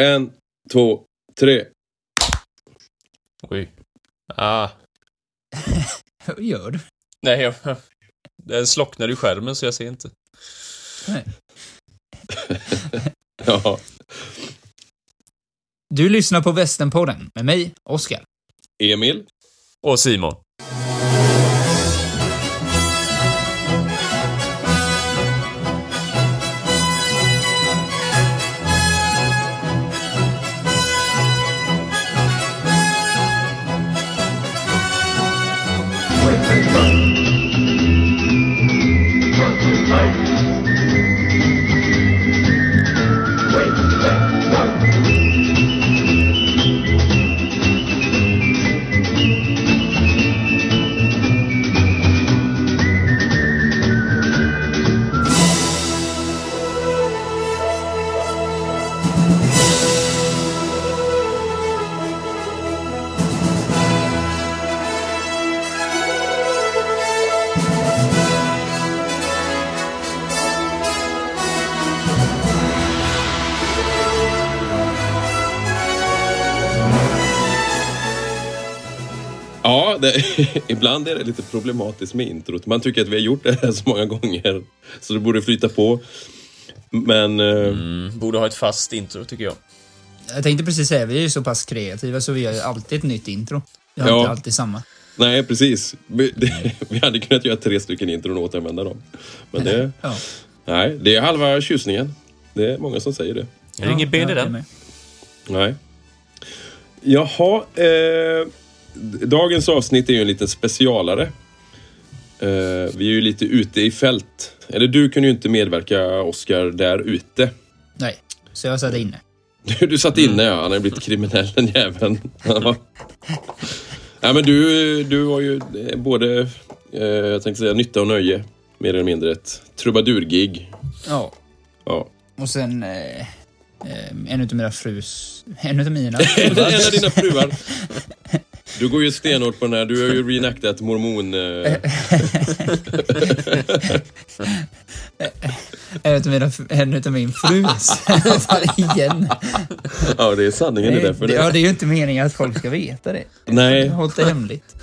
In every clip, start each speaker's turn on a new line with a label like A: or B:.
A: En, två, tre.
B: Oj. Ah.
C: Vad gör du?
B: Nej, jag... Den slocknar i skärmen så jag ser inte.
C: Nej.
A: Ja.
C: Du lyssnar på Västernpodden med mig, Oskar.
A: Emil.
B: Och Simon.
A: Ja, det, ibland är det lite problematiskt med introt. Man tycker att vi har gjort det här så många gånger så det borde flyta på. Men eh,
B: Mm, borde ha ett fast intro, tycker jag.
C: Jag tänkte precis säga, vi är ju så pass kreativa så vi gör ju alltid ett nytt intro. Vi har
A: Ja.
C: inte alltid samma.
A: nej, precis. Vi, det, vi hade kunnat göra tre stycken intron och återanvända dem. Men det,
C: Ja.
A: nej, det är halva tjusningen. Det är många som säger det.
B: Är det ingen ben i
C: ja,
B: den?
C: det är
A: Nej. Jaha. Eh, d- dagens avsnitt är ju en liten specialare. Eh, vi är ju lite ute i fält. Eller du kunde ju inte medverka, Oscar, där ute.
C: Nej, så jag satt inne.
A: Du, du satt inne, ja. Han har ju blivit kriminell, den jäveln. Ja. Nej, men du, du var ju eh, både, eh, jag tänkte säga nytta och nöje. Mer eller mindre ett trubadurgig.
C: Ja.
A: Ja.
C: Och sen... Eh, eh, en utav mina frus... En utav mina
A: en av dina fruar. Du går ju stenhårt på den här. Du har ju reenactat mormon... Eh,
C: En utav mina... fr- En utav min frus. Fan, igen.
A: Ja, det är sanningen. Det är därför
C: det, ja,
A: det.
C: det är ju inte meningen att folk ska veta det. Jag
A: Nej,
C: har hållit det hemligt.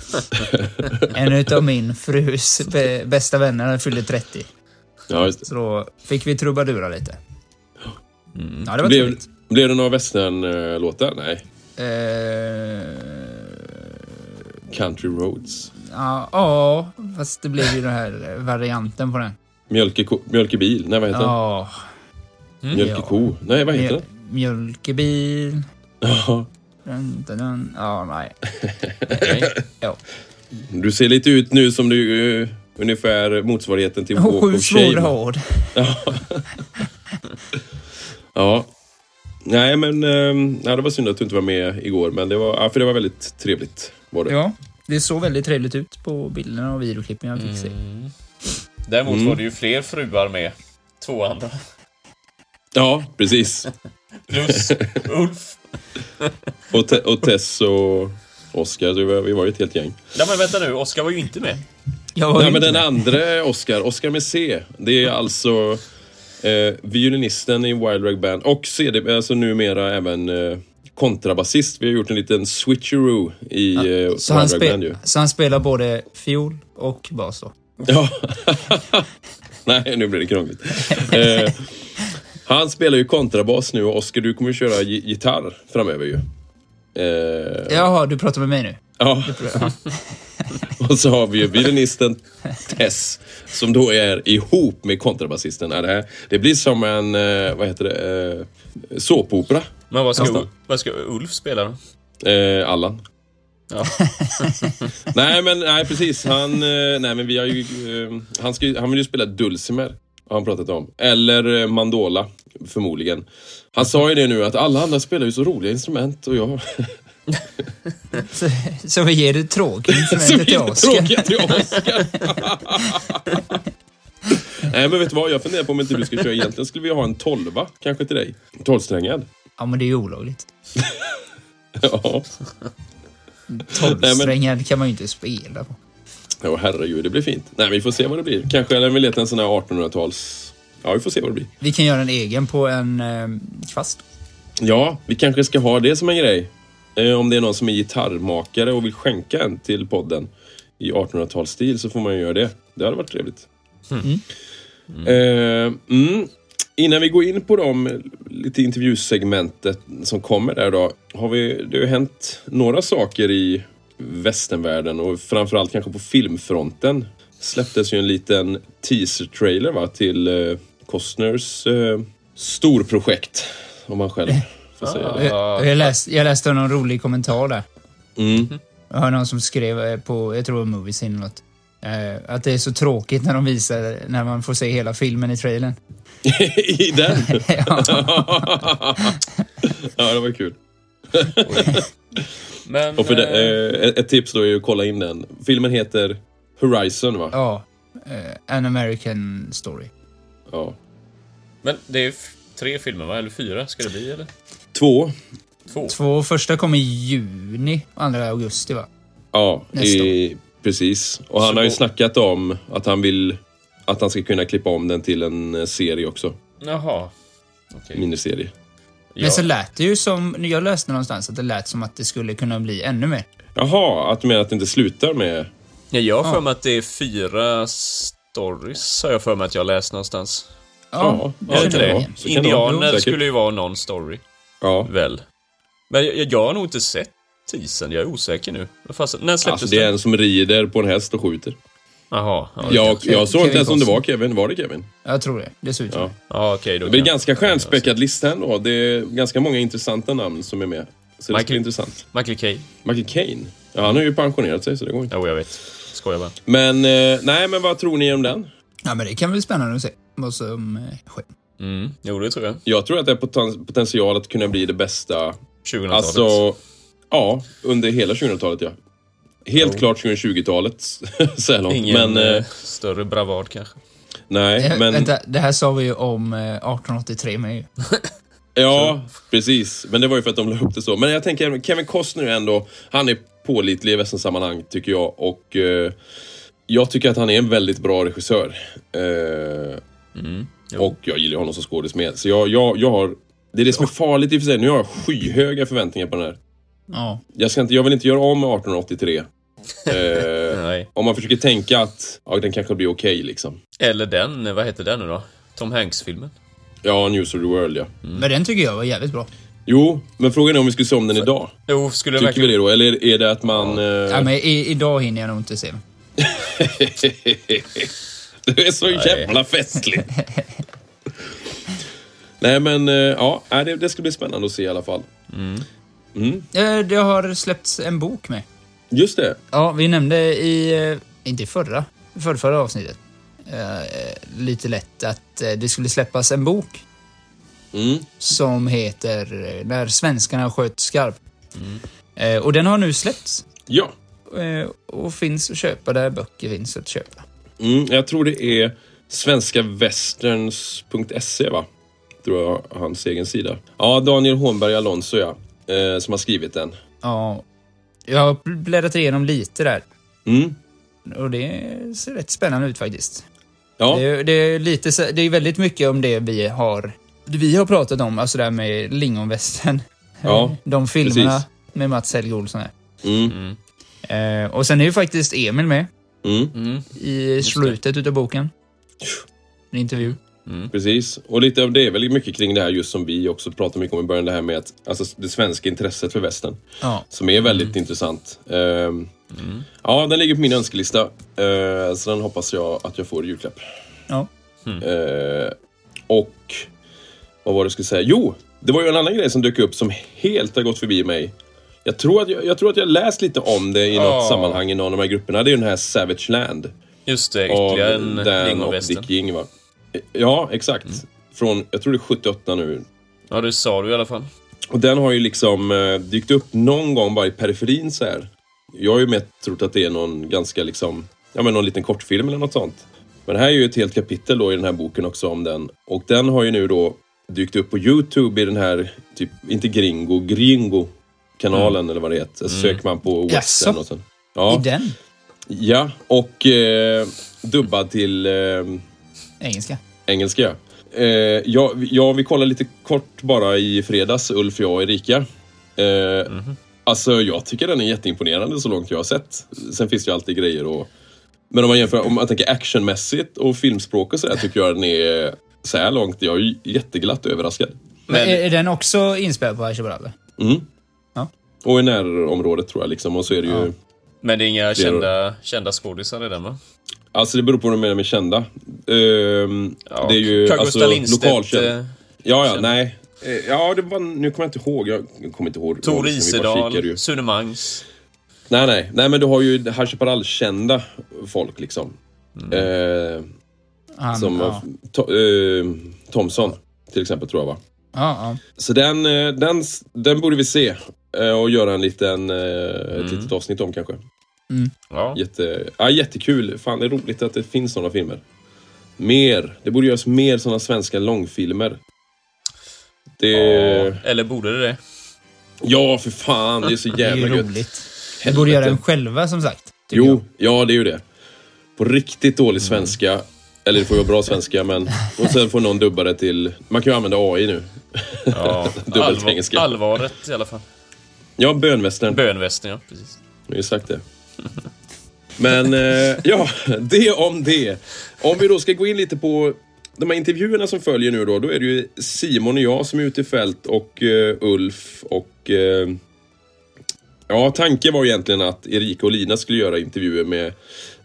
C: En utav min frus bä- bästa vänner han fyllde 30.
A: ja, just
C: Så då fick vi trubadura lite. Ja, det
A: det.
C: var
A: Mm. Blev,
C: trevligt.
A: blev det några västern-låtar? Nej.
C: Eh,
A: Country Roads.
C: Ja, ja, fast det blev ju den här varianten på den.
A: Mjölkeko, mjölkebil? Nej, vad heter den?
C: Ja,
A: Mjölkeko? Nej, vad heter
C: mjöl,
A: den?
C: mjölkebil.
A: Ja,
C: Dun, dun, dun. Ja, nej.
B: Nej.
C: Ja.
A: du ser lite ut nu som du... eh, ungefär motsvarigheten till Walk
C: Sju
A: of
C: svåra
A: Shame.
C: ord.
A: Ja. Nej, men... ehm, nej, det var synd att du inte var med igår, men det var, ja, för det var väldigt trevligt. Var det.
C: Ja, det såg väldigt trevligt ut på bilderna och videoklippen jag fick se.
B: Däremot
A: Mm.
B: var det ju fler fruar med. Två andra.
A: ja precis.
B: Plus Ulf.
A: Och, te, och Tess och Oscar, du var- vi var ju ett helt gäng.
B: Nej, men vänta nu. Oskar var ju inte med.
C: Jag var
A: Nej,
C: ju
A: men
C: inte
A: den
C: med.
A: andra Oscar, Oscar med C. Det är alltså eh, violinisten i Wild Rag Band och CD, alltså numera även eh, kontrabasist. Vi har gjort en liten switcheroo i eh, Wild
C: så, han
A: Rag Band ju.
C: spe- så han spelar både fiol och bas då.
A: Ja. Nej, nu blir det krångligt. Eh, han spelar ju kontrabas nu och Oscar, du kommer ju köra gi- gitarr framöver ju. Eh,
C: Jaha, du pratar med mig nu?
A: ja. Och så har vi ju violinisten Tess som då är ihop med kontrabasisten. Ja, Det, här, det blir som en, eh, vad heter det, eh, såpopera.
B: Men vad ska,
C: Nästa.
B: U- vad ska Ulf spela då?
A: Eh, Allan.
B: Ja.
A: Nej men nej precis, han, eh, nej, men vi har ju, eh, han, ska, ju- han vill ju spela dulcimer. Har han pratat om. Eller eh, mandola, förmodligen. Han sa ju det nu att alla andra spelar ju så roliga instrument och jag...
C: Så, så vi ger det tråkiga
A: Som
C: instrumentet till
A: är
C: Oskar.
A: tråkiga till Oscar. Nej men vet du vad, jag funderar på om inte du ska köra. Egentligen skulle vi ha en tolva kanske till dig. Tolvsträngad.
C: Ja, men det är ju olagligt.
A: Ja.
C: Tolvsträngad kan man ju inte spela på.
A: Ja herregud, det blir fint. Nej vi får se vad det blir. Kanske eller vi letar en sån här 1800-tals... Ja vi får se vad det blir.
C: Vi kan göra en egen på en eh, kvast.
A: Ja, vi kanske ska ha det som en grej. Eh, Om det är någon som är gitarrmakare och vill skänka en till podden i 1800-talsstil så får man ju göra det. Det hade varit trevligt. Eh, mm. Innan vi går in på de lite intervjusegmentet som kommer där då. Har vi, det har ju hänt några saker i västernvärlden och framförallt kanske på filmfronten. Släpptes ju en liten teaser-trailer va, till eh, Costners eh, storprojekt. Om man själv får säga det.
B: Ja.
C: Jag, jag, läste, jag läste någon rolig kommentar där.
A: Mm.
C: Jag hörde någon som skrev eh, på, jag tror det var Movies eller något, eh, att det är så tråkigt när de visar, när man får se hela filmen i trailern.
A: I den?
C: Ja.
A: ja, det var kul.
B: Men...
A: Och för det,
B: eh,
A: eh, ett- ett tips då är ju att kolla in den. Filmen heter Horizon va?
C: Ja. eh, An American Story.
A: Ja.
B: Men det är f- tre filmer va? Eller fyra ska det bli eller?
A: Två.
B: Två?
C: Två första kom i juni, andra augusti va?
A: Ja,
C: Nästa
A: i, precis. Och han
B: Så-
A: har ju snackat om att han vill att han ska kunna klippa om den till en eh, serie också.
B: Jaha. Okej.
A: Miniserie.
B: Ja.
C: Men så lät det ju som, jag läste någonstans att det lät som att det skulle kunna bli ännu mer.
A: Jaha, att du menar att det inte slutar med...
B: Ja, jag har
C: Ja.
B: för mig att det är fyra stories, har jag för mig att jag läst någonstans.
A: Ja,
C: det
A: ja,
B: Är det
C: skulle
B: inte
A: kan vara. Så kan
C: bli.
B: det?
A: det vara.
B: Indianer
A: Säkert.
B: skulle ju vara någon story,
A: Ja.
B: väl? Men jag, jag har nog inte sett teasern, jag är osäker nu. Vad fasen- när släpptes
A: Alltså det är en som rider på en häst och skjuter.
B: Jaha. Ja,
A: Jag, jag såg inte
C: Kevin
A: ens om det
C: Costner.
A: var Kevin. Var det Kevin?
C: Jag tror det. Det ser ut som
A: Ja.
C: det.
B: ja okej. då
A: Det blir
B: kan-
A: ganska stjärnspäckad lista ändå. Det är ganska många intressanta namn som är med. Så det ska
B: Michael-
A: bli intressant.
B: Michael Caine.
A: Michael Caine. Ja, han har ju pensionerat sig så det går inte.
B: Jo, jag vet. Skojar bara.
A: Men, eh, nej, men vad tror ni om den?
C: Ja, men det kan bli spännande att se vad som eh, sker.
B: Mm. Jo, det tror jag.
A: Jag tror att det är poten- potential att kunna bli det bästa.
B: 2000-talet.
A: Alltså, ja, under hela 2000-talet ja. Helt klart 2020-talet så här långt.
B: Ingen
A: men, eh,
B: eh, större bravad kanske.
A: nej,
C: Eh,
A: men...
C: Vänta, det här sa vi ju om eh, 1883 med ju.
A: Ja, precis. Men det var ju för att de la upp det så. Men jag tänker, Kevin Costner är ändå, han är pålitlig i västernsammanhang tycker jag. Och eh, jag tycker att han är en väldigt bra regissör. Eh,
B: Mm. Jo.
A: och jag gillar honom som skådis med. Så jag, jag, jag har, det är det som är farligt i och för sig. Nu har jag skyhöga förväntningar på den här.
C: Ja.
A: Jag, ska inte, jag vill inte göra om 1883. Eh,
B: Nej.
A: om man försöker tänka att ja, den kanske blir okej liksom.
B: Eller den, eh, vad heter den nu då? Tom Hanks-filmen.
A: Ja, News of the World ja.
C: Men den tycker jag var jävligt bra.
A: Jo, men frågan är om vi skulle se om den idag.
B: Jo, skulle det
A: Tycker
B: verkligen...
A: vi det då? Eller är det att man... eh,
C: Ja, men i, idag hinner jag nog inte se den.
A: Du är så jävla festlig. Nej men eh, ja, nej, det, det ska bli spännande att se i alla fall.
C: Eh, Det har släppts en bok med.
A: Just det.
C: Ja, vi nämnde i, eh, inte i förra, förra, förra avsnittet, eh, lite lätt att eh, det skulle släppas en bok
A: Mm.
C: som heter eh, När svenskarna sköt skarpt.
A: Mm.
C: Eh, och den har nu släppts
A: Ja.
C: eh, och finns att köpa där böcker finns att köpa.
A: Mm, jag tror det är svenskavästerns.se E, va? Tror jag hans egen sida. Ja, Daniel Hånberg Alonso ja. Eh, som har skrivit den.
C: Ja, jag har bläddrat igenom lite där
A: Mm.
C: och det ser rätt spännande ut faktiskt.
A: Ja.
C: Det, är, det, är lite, så- det är väldigt mycket om det vi har, det vi har pratat om, alltså det här med lingonvästen.
A: Ja,
C: De filmerna
A: precis.
C: med Mats Helge Olsson. Här.
A: Mm.
B: Mm.
C: Eh, och sen är ju faktiskt Emil med
A: Mm.
B: Mm.
C: i
B: det.
C: slutet utav boken. En intervju.
B: Mm.
A: Precis. Och lite av det är väl mycket kring det här just som vi också pratade mycket om i början. Det här med att, alltså, det svenska intresset för västern.
C: Ja.
A: Som är väldigt intressant. Ehm,
B: Mm.
A: Ja, den ligger på min önskelista. Eh, så den hoppas jag att jag får i julklapp.
C: Ja.
B: Mm.
A: Eh, och vad var det jag skulle säga? Jo, det var ju en annan grej som dök upp som helt har gått förbi mig. Jag tror att jag, jag, tror att jag läst lite om det i något
B: Ah.
A: sammanhang i någon av de här grupperna. Det är ju den här Savage Land.
B: Just det,
A: Av
B: ytterligare en
A: Dan och
B: lingonvästen.
A: Dick King, va? Ja, exakt.
B: Mm.
A: Från, jag tror det är 78 nu.
B: Ja, det sa du i alla fall.
A: Och den har ju liksom eh, dykt upp någon gång bara i periferin så här. Jag har ju mer trott att det är någon ganska liksom, ja men någon liten kortfilm eller något sånt. Men det här är ju ett helt kapitel då i den här boken också om den. Och den har ju nu då dykt upp på YouTube i den här, typ, inte gringo, gringo-kanalen eller vad det heter. Så söker man på western
C: Mm. Jaså?
A: och sen. Ja,
C: I den
A: ja och eh, dubbad till eh,
C: engelska.
A: engelska. Eh, ja, vi- ja, vi kollade lite kort bara i fredags, Ulf, jag och Erika. Eh,
B: Mhm.
A: Alltså, jag tycker den är jätteimponerande så långt jag har sett. Sen finns det ju alltid grejer att... Men om man jämför, om man tänker actionmässigt och filmspråk och sådär, tycker jag den är så här långt, jag är ju jätteglatt överraskad.
C: Men
B: Men-
A: eh,
C: är, är den också inspelad på Ashebaralle?
A: Mm.
C: Ja.
A: Och i närområdet tror jag liksom, och så är det ju...
C: Ja.
B: Men det är inga kända, kända skådisar i den va?
A: Alltså det beror på vad de menar med kända. Ehm,
B: Ja,
A: det är ju
B: Carl
A: alltså,
B: Gustaf Lindstedt,
A: lokalkänd.
B: eh,
A: ja, ja,
B: känd.
A: nej. Eh, Ja, det var, nu kommer jag inte ihåg. Jag kommer inte ihåg.
B: Tor
A: Vi bara kikade ju.
B: Isedal, Sune Mangs.
A: Nej, nej. Nej, men du har ju High Chaparral-kända folk liksom. Eh,
C: Han,
A: som
C: ja.
A: to, eh, Thomson, till exempel, tror jag va?
C: Ja, ja.
A: Så den, eh, den, den borde vi se. eh, Och göra en liten, eh, ett litet avsnitt om kanske.
B: Ja.
A: Jätte, ja, jättekul. Fan, det är roligt att det finns sådana filmer. Mer. Det borde göras mer sådana svenska långfilmer. Det...
B: Ja, Eh, Eller borde det det?
A: Ja, för fan. Det är så
C: Det är
A: jävla
C: ju
A: gött.
C: roligt. Vi borde göra den
A: Helvete.
C: själva som sagt. Typ. tycker
A: Jo, ja, det är ju det. På riktigt dålig svenska. Eller det får ju vara bra svenska, men... Och sen får någon dubba det till... Man kan ju använda AI nu.
B: Ja.
A: Dubbelt
B: Allvar,
A: engelska.
B: allvaret i alla fall.
A: Ja, bönvästern.
B: Bönvästen, ja. Precis.
A: Jag har ju sagt det. Men eh, ja, det om det. Om vi då ska gå in lite på de här intervjuerna som följer nu då. Då är det ju Simon och jag som är ute i fält och eh, Ulf och... Eh, ja, tanken var egentligen att Erika och Lina skulle göra intervjuer med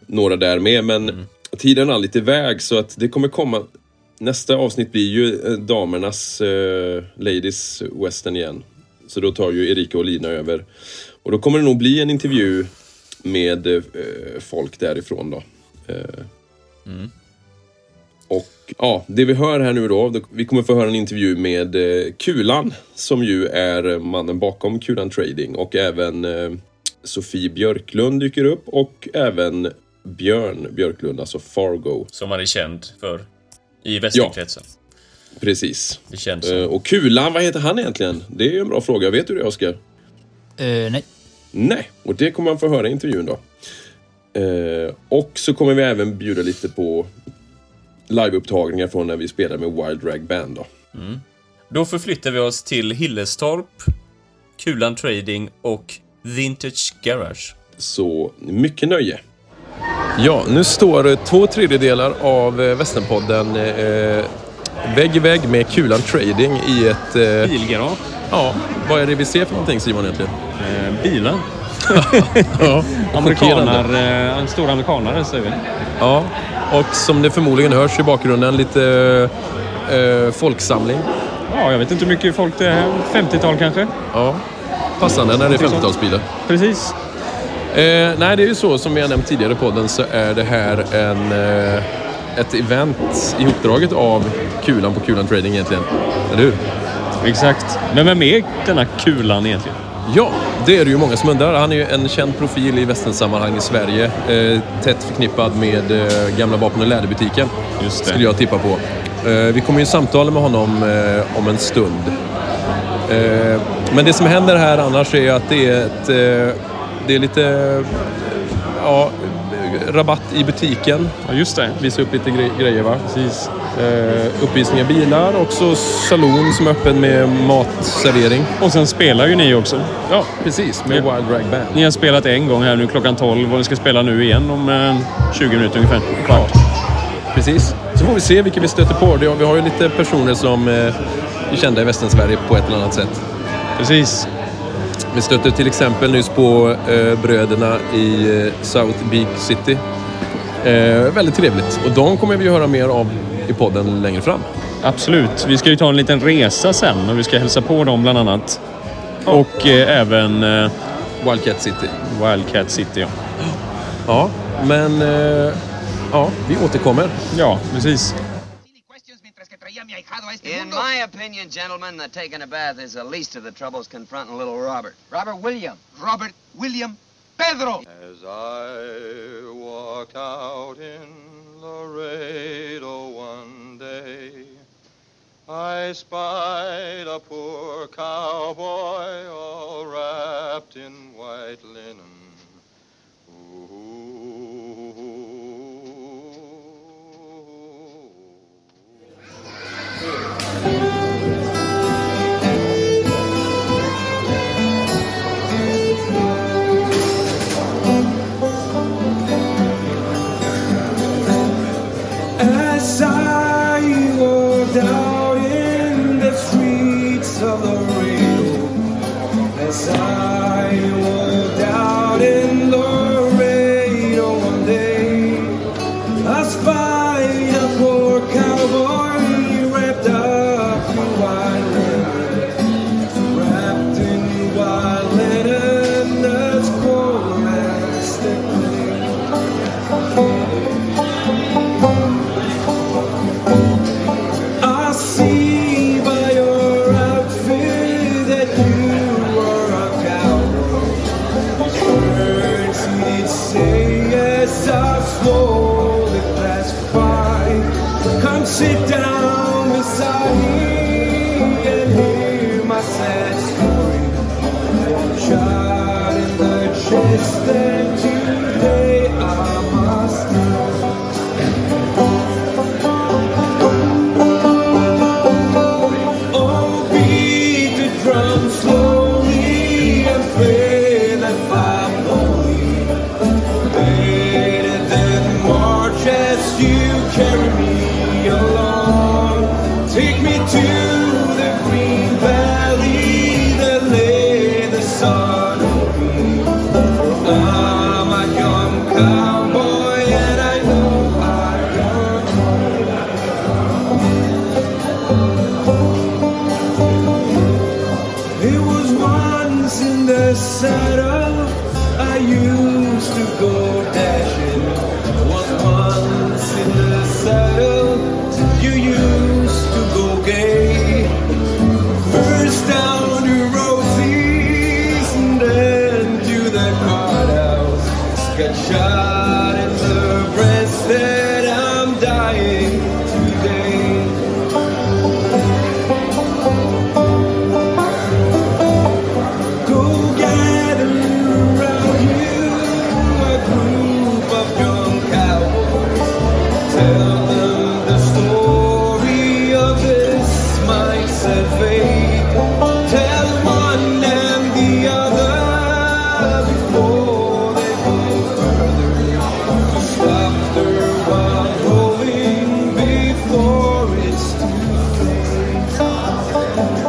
A: några där med. Men tiden rann lite iväg så att det kommer komma... Nästa avsnitt blir ju eh, damernas eh, Ladies Western igen. Så då tar ju Erika och Lina över. Och då kommer det nog bli en intervju med eh, folk därifrån då. Eh, Och ja, det vi hör här nu då, då- vi kommer få höra en intervju med eh, Kulan som ju är mannen bakom Kulan Trading och även eh, Sofie Björklund dyker upp och även Björn Björklund, alltså Fargo.
B: Som man är känd för i västerkretsen.
A: Precis.
B: Det känns
A: Eh,
B: som.
A: och Kulan, vad heter han egentligen? Det är ju en bra fråga. Vet du det, Oskar?
C: jag. Eh, nej.
A: Nej, och det kommer man få höra i intervjun då. Eh, och så kommer vi även bjuda lite på liveupptagningar från när vi spelar med Wild Rag Band då.
B: Då förflyttar vi oss till Hillestorp, Kulan Trading och Vintage Garage.
A: Så mycket nöje! Ja, nu står eh, två tredjedelar av eh, Västernpodden eh, vägg i vägg med Kulan Trading i ett... Eh,
D: Bilgarage.
A: ja, vad är det vi ser för någonting Simon egentligen?
D: Eh, bilar.
A: Ja, chockerande.
D: Amerikaner, eh, en stor amerikanare säger vi.
A: Ja, och som det förmodligen hörs i bakgrunden lite eh, folksamling.
D: Ja, jag vet inte hur mycket folk det är. 50-tal kanske?
A: Ja, passande när det är
D: Tycker så.
A: 50-talsbilar.
D: Precis.
A: Eh, nej, det är ju så som jag nämnt tidigare i podden så är det här en, eh, ett event ihopdraget av Kulan på Kulan Trading egentligen. Eller hur?
D: Exakt. Men vem är denna kulan egentligen?
A: Ja, det är det ju många som undrar. Han är ju en känd profil i västernsammanhang i Sverige. Eh, tätt förknippad med eh, gamla vapen och läderbutiken.
D: Just det.
A: Skulle jag tippa på. Eh, vi kommer ju samtala med honom eh, om en stund. Eh, men det som händer här annars är att det är ett... Eh, det är lite... eh, Ja, rabatt i butiken.
D: Ja, just det.
A: Visa upp lite gre- grejer va?
D: Precis.
A: Eh, uppvisning av bilar, också saloon som är öppen med matservering.
D: Och sen spelar ju ni också.
A: Ja, precis. Med Wild Rag Band.
D: Ni har spelat en gång här nu klockan 12 och vi ska spela nu igen om eh, 20 minuter ungefär. Kvart.
A: Precis. Så får vi se vilka vi stöter på. Det- Vi har ju lite personer som eh, är kända i Västern-Sverige på ett eller annat sätt.
D: Precis.
A: Vi stötte till exempel nyss på eh, bröderna i eh, South Beak City. Eh, väldigt trevligt. Och de kommer vi ju höra mer av i podden längre fram.
D: Absolut. Vi ska ju ta en liten resa sen och vi ska hälsa på dem bland annat. Och eh, även eh,
A: Wildcat City.
D: Wildcat City. Ja.
A: Ja, men... Eh, ja, vi återkommer.
D: ja, precis.
E: Any questions mientras que traía a mi ahijado a este
F: In
E: mundo?
F: my opinion, gentlemen, uh, taking a bath is the least of the troubles confronting little Robert. Robert William.
E: Robert William Pedro.
G: As I walked out in Laredo one day, I spied a poor cowboy all wrapped in white linen. Ooh.
H: Yes, I walked out in Laredo one day. I spied a poor cowboy wrapped up in white linen, wrapped in white linen as cold as the grave. I see by your outfit that you are a cowboy. Words need say as I slowly pass by. Come sit down beside me and hear my sad story. I'm shot in the chest and today I must die. Oh, beat the drum slowly and play that five Later than march as you carry me along. Take me to the green valley that lay the sun on me. I'm a young cowboy and I know I got It was once in the saddle I used to go dashing. Was once in the saddle you used to go gay. First down to Rosie's and then to the guardhouse. Got shot in the breast and I'm dying today. Go gather around you a group of young cowboys. Tell them the story of this my sad fate. Tell one and the other before they go further to stop their wild rolling before it's too late.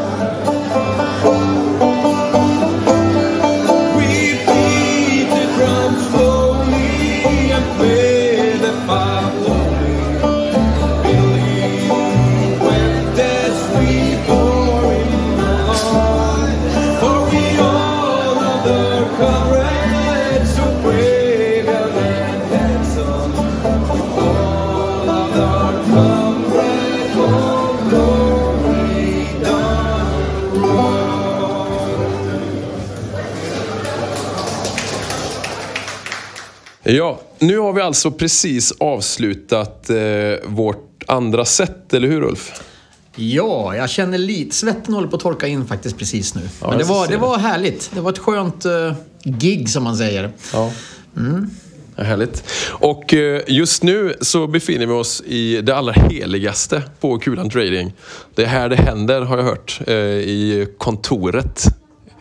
H: Repeat the drum slowly and play the five lonely. Believe wept as we bore him along. For we all know their comrades so brave and handsome. All of our comrades, oh glory done wrong.
A: Ja, nu har vi alltså precis avslutat eh, vårt andra set, eller hur Ulf?
I: Ja, jag känner lite... Svetten håller på att torka in faktiskt precis nu. Men det
A: jag
I: var,
A: ser
I: det
A: det.
I: var härligt. Det var ett skönt eh, gig som man säger.
A: Ja. Mm. Ja, Härligt. Och eh, just nu så befinner vi oss i det allra heligaste på Kulan Trading. Det är här det händer har jag hört. eh, I kontoret.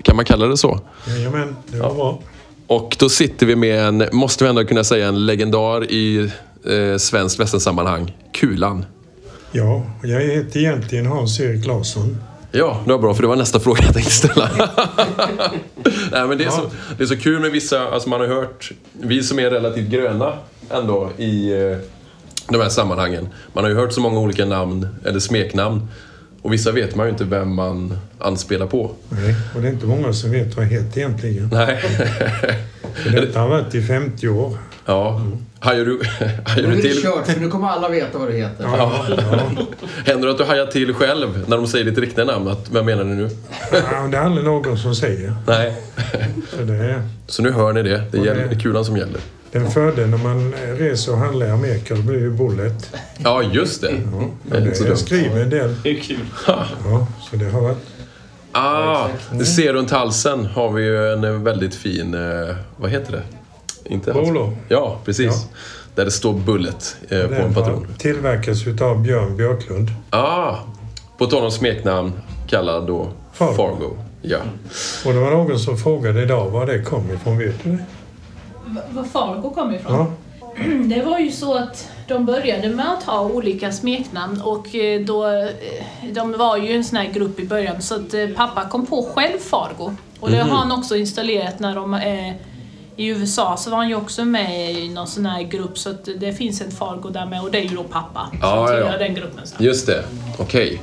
A: Kan man kalla det så?
J: Jajamän, det var bra.
A: Och då sitter vi med en, måste vi ändå kunna säga, en legendar i eh, svenskt västernsammanhang. Kulan.
J: Ja, och jag heter egentligen Hans-Erik Larsson.
A: Ja, det var bra för det var nästa fråga jag tänkte ställa. Nej, men det, är så, det är så kul med vissa, alltså man har hört, vi som är relativt gröna ändå i eh, de här sammanhangen. Man har ju hört så många olika namn, eller smeknamn. Och vissa vet man ju inte vem man anspelar på.
J: Nej, och det är inte många som vet vad jag heter egentligen.
A: Nej.
J: För detta har varit i 50 år.
A: ja. Hajar du, hajar
I: Nu
A: du
I: är det
A: till?
I: kört, för nu kommer alla veta vad du heter.
J: Ja, ja.
A: Händer det att du hajar till själv när de säger ditt riktiga namn? Att, vem menar du nu?
J: ja och det är aldrig någon som säger.
A: Nej.
J: Så det är,
A: Så nu hör ni det. Det, gäller,
J: det-
A: det är kulan som gäller.
J: den fördelen när man reser och handlar i Amerika, då blir det ju bullet.
A: Ja, just det. Mm. Det
J: Men
A: är inte så
J: det, jag
A: dumt.
J: skriver en del.
B: Det är kul.
J: Ja, så det har varit.
A: Ah, det ser runt halsen har vi ju en eh, väldigt fin, eh, vad heter det? Inte hals-
J: Bolo.
A: Ja, precis. Där det står Bullet eh, på en
J: Den
A: patron.
J: har tillverkats utav Björn Björklund.
A: Ah, på tal om smeknamn kallad då
J: Fargo.
A: Fargo. Ja.
J: Och det var någon som frågade idag var det kom ifrån, vet du det?
H: Ja. det var ju så att de började med att ha olika smeknamn och eh, då, eh, de var ju en sån här grupp i början så att eh, pappa kom på själv Fargo. Och det
K: Mhm.
H: har han också installerat när de eh, i USA så var han ju också med i någon sån här grupp så att eh, det finns en Fargo där med och det är ju då pappa som
A: Ah, Ja, ja, ja.
H: tillhör den gruppen. Så.
A: Just det, okej.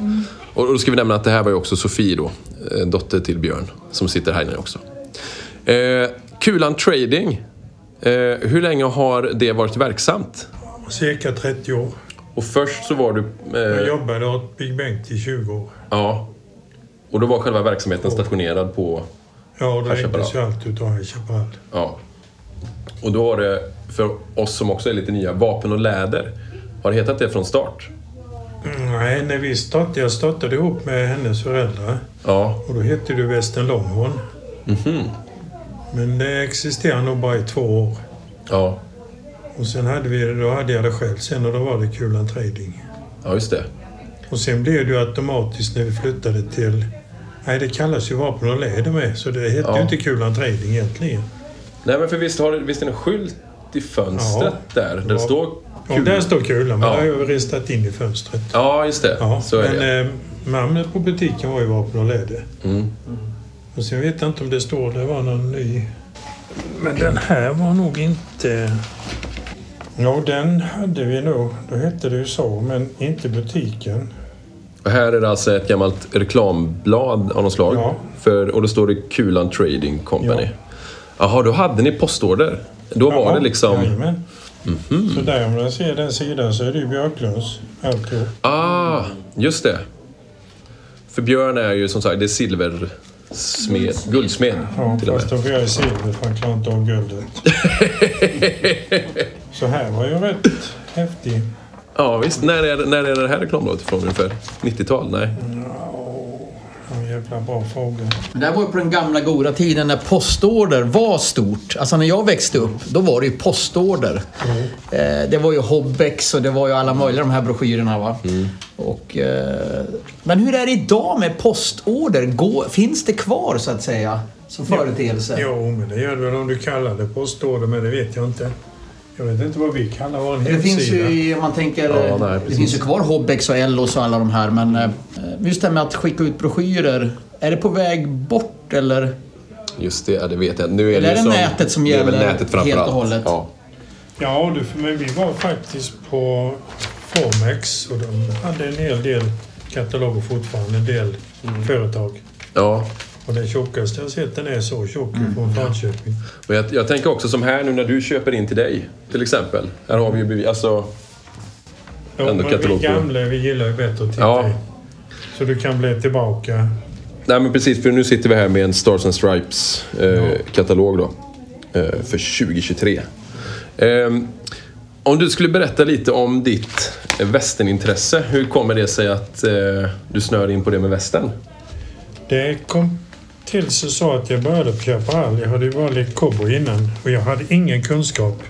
A: Och då ska vi nämna att det här var ju också Sofie då, eh, dotter till Björn, som sitter här inne också. Eh, Kulan Trading, eh, hur länge har det varit verksamt?
J: Cirka 30 år.
A: Och först så var du...
J: Jag
A: Eh,
J: jobbade åt Big Bengt i 20 år.
A: ja. Och då var själva verksamheten stationerad på...
J: Ja, och det
A: Här
J: räcktes ju
A: Chaparral.
J: allt utav High Chaparral.
A: Ja. Och då har det, för oss som också är lite nya, Vapen och läder. Har det hetat det från start?
J: Mm, Nej, när vi startade, jag startade ihop med hennes föräldrar.
A: Ja.
J: Och då hette det Western Longhorn.
A: Mhm.
J: Men det existerade nog bara i två år.
A: Ja.
J: Och sen hade vi det, då hade jag det själv sen och då var det Kulan Trading.
A: Ja, just det.
J: Och sen blev det ju automatiskt när vi flyttade till... Nej, det kallas ju Vapen och läder med, så det hette
A: Ja.
J: ju inte Kulan Trading egentligen.
A: Nej, men för visst har det- visst är det en skylt i fönstret där? Där
J: Ja.
A: det står...
J: Ja, där står kulan, men
A: Ja.
J: det har jag ristat in i fönstret.
A: Ja, just det. så är
J: men
A: det.
J: Eh, namnet på butiken var ju Vapen och läder.
A: Mm.
J: Och sen vet jag inte om det står, det var någon ny... Men den här var nog inte... Ja, den hade vi nog. Då hette det ju så, men inte butiken.
A: Och här är det alltså ett gammalt reklamblad av något slag. För, och då står det Kulan Trading Company. Jaha, då hade ni postorder. Då var
J: Ja,
A: det liksom...
J: Jajamän.
A: Mhm.
J: Så där om man ser den sidan så är det ju Björklunds alltihop.
A: Ah, just det. För Björn är ju som sagt, det är silversmed. Guldsmed
J: Ja,
A: till och
J: fast
A: med.
J: då får jag i silver för han klarar inte av guldet. så här var ju rätt häftig.
A: Ja, visst. När är, när är det här reklambladet ifrån ungefär? 90-tal? Nej.
J: Ja, jävla bra fråga.
I: Men det här var ju på den gamla goda tiden när postorder var stort. Alltså när jag växte upp, då var det ju postorder. Eh, det var ju Hobbex och det var ju alla möjliga de här broschyrerna. Va?
A: Mm.
I: Och, eh, men hur är det idag med postorder? Gå, finns det kvar så att säga? Som företeelse?
J: Jo, men det gör det väl om du kallar det postorder, men det vet jag inte. Jag vet inte vad vi kallar vår
I: Det
J: hemsida.
I: finns ju, i- man tänker,
J: Ja, nej,
I: det
J: precis.
I: finns ju kvar Hobbex och Ellos och alla de här men eh, just det här med att skicka ut broschyrer. Är det på väg bort eller?
A: Just det, ja, det vet jag. Nu är
I: Eller
A: det,
I: är
A: ju
I: det
A: som,
I: nätet som
A: det är väl
I: gäller
A: nätet framför
I: helt och
A: allt.
I: hållet?
A: Ja.
J: Ja, du, men vi var faktiskt på Formex och de hade en hel del kataloger fortfarande, en del
A: Mm.
J: företag.
A: ja.
J: Och den tjockaste jag sett den är så tjock
A: Mm.
J: från Falköping.
A: Men jag, jag tänker också som här nu när du köper in till dig, till exempel. Här har vi ju bevis. Alltså,
J: Ja,
A: ändå
J: men vi
A: katalog på...
J: gamla vi gillar ju bättre att titta
A: Ja.
J: i. Så du kan bli tillbaka.
A: Nej men precis, för nu sitter vi här med en Stars and Stripes-katalog då. Eh, för 2023. Ehm, om du skulle berätta lite om ditt eh, västernintresse. Hur kommer det sig att eh, du snör in på det med västern?
J: Det kom till sig så att jag började på Chaparral. Jag hade ju varit lite cowboy innan och jag hade ingen kunskap.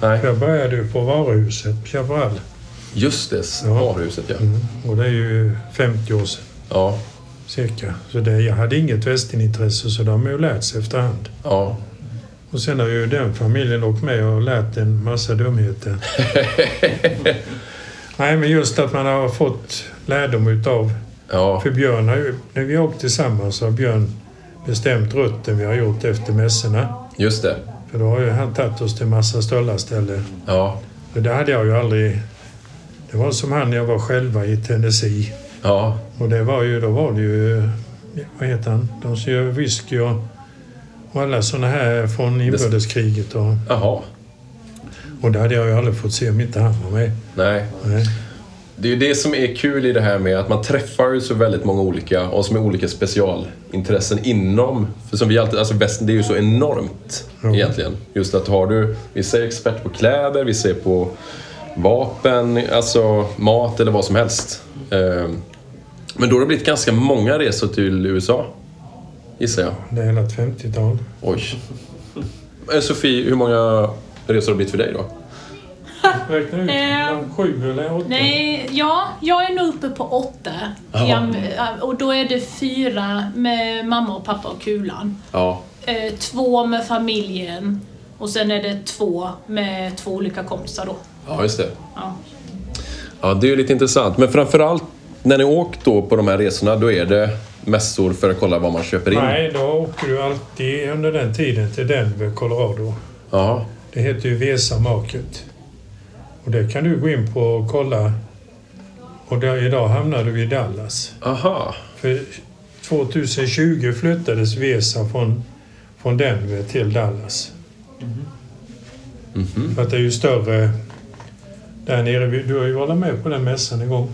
A: Nej.
J: Jag började ju på varuhuset på Chaparral.
A: Just det, varuhuset ja.
J: Och det är ju 50 år sedan.
A: Ja.
J: Cirka. Så det, jag hade inget västernintresse så det har man ju lärt sig efterhand.
A: Ja.
J: Och sen har ju den familjen åkt med och lärt en massa dumheter. Nej, men just att man har fått lärdom utav...
A: Ja.
J: För Björn har ju, när vi har åkt tillsammans så har Björn bestämt rutten vi har gjort efter mässorna.
A: Just det.
J: För då har ju han tagit oss till massa stöllarställen.
A: Ja.
J: För det hade jag ju aldrig... Det var som han när jag var själva i Tennessee.
A: Ja.
J: Och det var ju, då var det ju... eh, Vad heter han? De som gör whisky och, och alla såna här från inbördeskriget. Och,
A: Jaha.
J: och det hade jag ju aldrig fått se om inte han var med.
A: Nej.
J: Nej.
A: Det är ju det som är kul i det här med att man träffar ju så väldigt många olika och som är olika specialintressen inom. För som vi alltid, alltså västen det är ju så enormt egentligen. Just att har du, vissa är expert på kläder, vissa är på vapen, alltså mat eller vad som helst. Ehm, Men då har det blivit ganska många resor till USA, gissar jag.
J: Det är hela ett 50-tal.
A: Oj. Eh, Sofie, hur många resor har det blivit för dig då?
J: Räkna ut.
H: Eh,
J: Sju eller åtta?
H: Nej, Eh, ja, jag är nu uppe på åtta.
A: Ja.
H: Ja, och då är det fyra med mamma och pappa och Kulan.
A: Ja.
H: Eh, två med familjen Och sen är det två med två olika kompisar då.
A: Ja, just det.
H: Ja.
A: Ja, det är ju lite intressant. Men framförallt när ni åkt då på de här resorna, då är det mässor för att kolla vad man köper in?
J: Nej, då åker du alltid under den tiden till Denver, Colorado.
A: Ja.
J: Det heter ju Vesa Market. Och det kan du gå in på och kolla. Och där, idag hamnar du i Dallas.
A: Aha.
J: För 2020 flyttades Vesa från, från Denver till Dallas.
A: Mm-hmm.
J: För att det är ju större där nere. Vi- Du har ju varit med på den mässan en gång.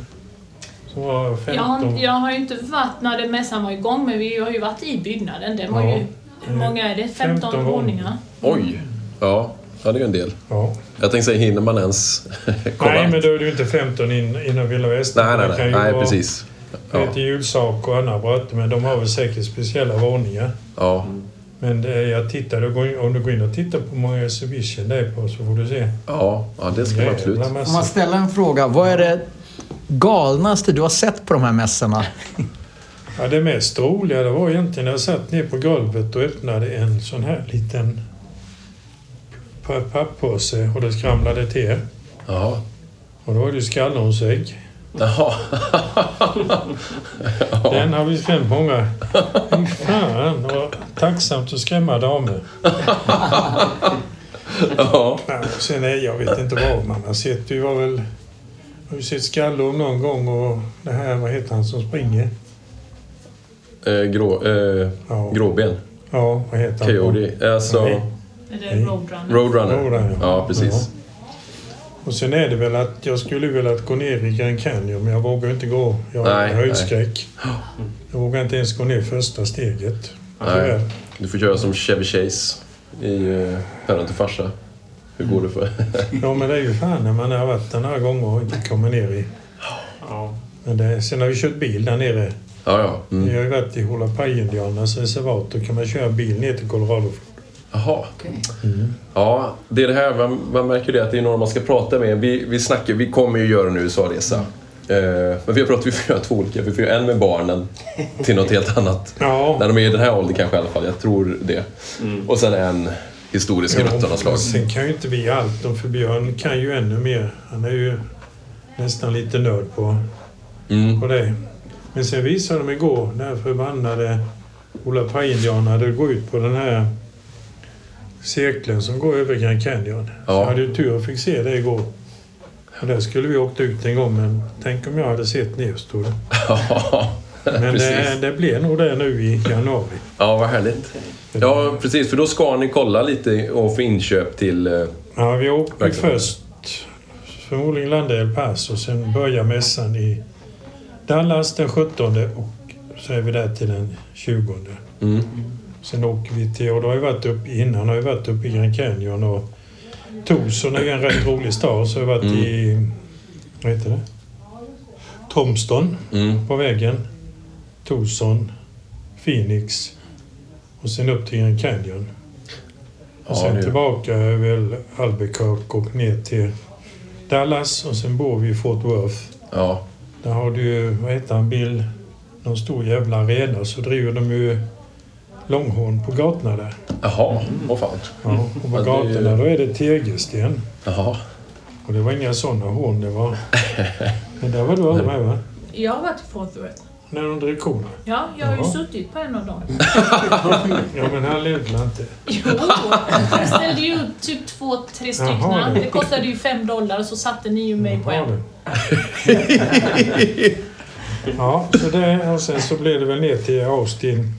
J: Som var 15.
H: Jag, har- jag har ju inte varit när den mässan var igång, men vi har ju varit i byggnaden. Den var
A: Ja.
H: ju... Hur många är det? 15,
A: 15
H: våningar?
A: Oj! Ja, ja, det är en del.
J: Ja.
A: Jag tänkte säga, hinner man ens kolla?
J: Nej, men då är du inte 15 in, innan Villa Västern.
A: nej, nej,
J: Det kan ju
A: nej,
J: vara-
A: precis.
J: Det heter julsak och andra bröte, men de har väl säkert speciella våningar.
A: Ja.
J: Men det, jag tittar, och går- om du går in och tittar på hur många exhibition det är på så får du se.
A: Ja, ja det
J: ska man absolut.
I: Om man ställer en fråga, vad är det galnaste du har sett på de här mässorna?
J: Ja, det mest roliga det var egentligen när jag satt ner på golvet och öppnade en sån här liten p- papppåse och det skramlade till.
A: Ja.
J: Och då var det ju skallonsägg.
A: Jaha.
J: Den har vi skrämt många. Fy Fan, vad tacksamt att skrämma damer.
A: Ja.
J: Sen är jag vet inte vad man har sett. Vi var väl... Har vi sett skallon någon gång och det här, vad heter han som springer?
A: Eh, grå, eh, Gråben?
J: Ja, vad heter han?
A: Coyote? Alltså...
J: Nej. Nej.
A: Roadrunner. Ja, precis.
J: Och sen är det väl att jag skulle vilja att gå ner i Grand Canyon, men jag vågar inte gå. Jag har
A: Nej,
J: höjdskräck. Jag vågar inte ens gå ner första steget. Tyvärr.
A: Nej. Du får köra som Chevy Chase i eh, Päron till farsa. Hur går det för...
J: Ja, men det är ju fan när man har varit där några gånger och inte kommer ner i. Men det, sen har vi kört bil där nere.
A: ja, ja. Mm.
J: Vi har ju varit i Holapai-indianernas reservat. Då kan man köra bil ner till Colorado.
A: Jaha. Ja, det är det här. Man, man märker ju det att det är några man ska prata med. Vi, vi snackar, vi kommer ju göra en USA-resa. Eh, men vi har pratat, vi får göra två olika. Vi får göra en med barnen till något helt annat. När de är i den här åldern kanske i alla fall. Jag tror det. Och sen en historisk
J: Ja,
A: rutt av något slag.
J: Sen kan ju inte vi allt om för Björn kan ju ännu mer. Han är ju nästan lite nörd på,
A: Mm.
J: på det. Men sen visade de igår den här förbannade Olapai-indianerna. Det går ut på den här cirkeln som går över Grand Canyon. Så
A: Ja.
J: jag hade ju tur och fick se det igår. Och där skulle vi åkt ut en gång men tänk om jag hade sett nedstående. Men det,
A: Precis.
J: det blir nog det nu i januari.
A: Ja, vad härligt. Ja, precis. För då ska ni kolla lite och få inköp till... eh,
J: Ja, vi åker ju
A: Verkligen.
J: först förmodligen landar i El Paso och sen börjar mässan i Dallas den 17 och så är vi där till den 20.
A: Mm.
J: Sen åker vi till, och då har vi varit upp innan, har vi varit uppe i Grand Canyon och Tucson är ju en rätt rolig stad så har vi varit
A: Mm.
J: i, vad heter det? Tomston
A: Mm.
J: på vägen. Tucson, Phoenix och sen upp till Grand Canyon.
A: Ja,
J: Och sen
A: det är-
J: tillbaka över Albuquerque och ner till Dallas och sen bor vi i Fort Worth.
A: Ja.
J: Där har du ju, vad heter han, Bill, någon stor jävla arena så driver de ju långhorn på gatorna där.
A: Jaha, vad fan.
J: Ja, och på
A: Mm. Ja, det är ju-
J: gatorna då är det tegelsten.
A: Jaha.
J: Och det var inga sådana horn det var. Men där var du aldrig med va?
H: Jag har varit i Fort Worth.
J: När de drev korna.
H: Ja, jag har ju
J: Jaha.
H: suttit på en av dem.
J: Ja men han levde väl inte.
H: Jo, jag ställde ju ut typ två, tre
J: Jaha,
H: stycken.
J: det-
H: Det kostade ju fem dollar så satte ni ju mig på en.
J: Ja, så det, och sen så blev det väl ner till Austin,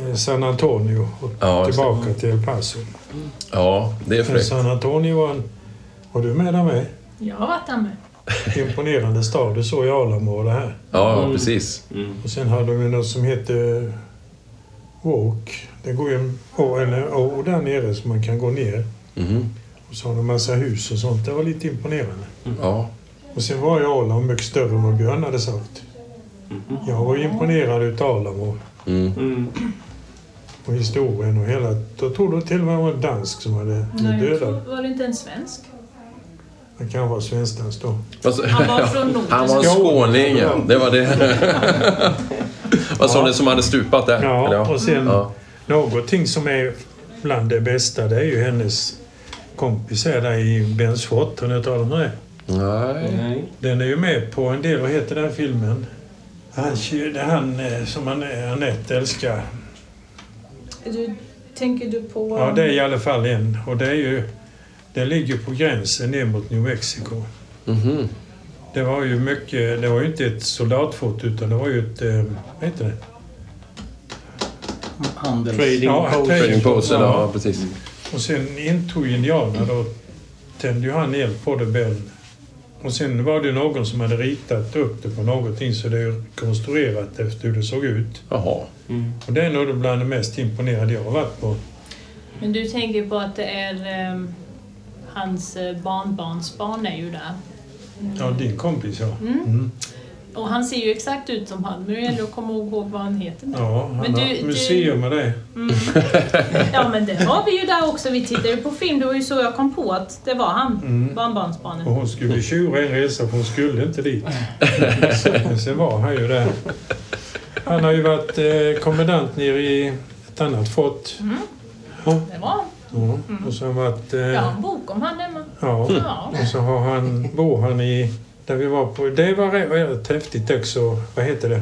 J: eh, San Antonio och
A: Ja, just det.
J: tillbaka till El Paso.
A: Ja, det är
J: Men
A: fräckt.
J: San Antonio var en... Och du med där med?
H: Jag har varit där med.
J: Imponerande stad. Du såg i Alamo och det här.
A: Ja, ja, precis.
J: Och sen hade de ju något som heter Walk. Det går ju en å, en å där nere så man kan gå ner.
A: Mhm.
J: Och så har de massa hus och sånt. Det var lite imponerande.
A: Ja.
J: Och sen var ju Alamo mycket större än vad Björn hade sagt.
H: Mm.
J: Jag var ju imponerad utav Alamo
A: Mm.
J: och historien och hela... Då tror du till och med det var en dansk som hade
H: Nej, jag
J: blivit
H: tror,
J: dödad.
H: var det inte en svensk?
J: Han kanske var svenskdansk då.
A: Alltså,
H: Han var från Norden.
A: Han var en skåning, ja. Det var det. Vad sa ni som hade stupat där? Eller
J: Ja, och sen någonting som är bland det bästa det är ju hennes kompis här där i Benshot. Har ni hört talas om det?
G: Nej.
J: Den är ju med på en del, vad heter den filmen? Han, det är han eh, som han- Anette älskar.
H: Du, tänker du på...
J: Ja, det är i alla fall en. Och det är ju... Den ligger på gränsen ner mot New Mexico. Det var ju mycket... Det var ju inte ett soldatfoto utan det var ju ett... eh, Vad heter det?
I: Handels...
J: Ja,
A: Trading Post, ja,
J: ja.
A: precis.
J: Och sen intog indianerna då tände ju han eld på rebellen. Och sen var det någon som hade ritat upp det på någonting så det är konstruerat efter hur det såg ut.
A: Jaha.
J: Och det är nog bland det mest imponerade jag har varit på.
H: Men du tänker på att det är ehm, hans eh, barnbarnsbarn är ju där.
J: Ja, din kompis ja.
H: Mm.
J: Mm.
H: Och han ser ju exakt ut som han. Nu gäller det att komma ihåg vad han heter nu.
J: Ja, han
H: Men
J: har
H: du-
J: haft museum med det.
H: Ja men det var vi ju där också. Vi tittade ju på film. Det var ju så jag kom på att det var han.
J: Mm.
H: Barnbarnsbarnet.
J: Och hon skulle bli tjur en resa för hon skulle inte dit. Men sen var han ju där. Han har ju varit eh, kommendant nere i ett annat fort.
H: Mm.
J: Ja.
H: Det var han.
J: Ja. Och så har han varit... eh,
H: Jag har en bok om han hemma.
J: Ja.
H: Ja.
J: Och så har han, bor han i... Där vi var på... Det var rätt- rätt häftigt också. Vad heter det?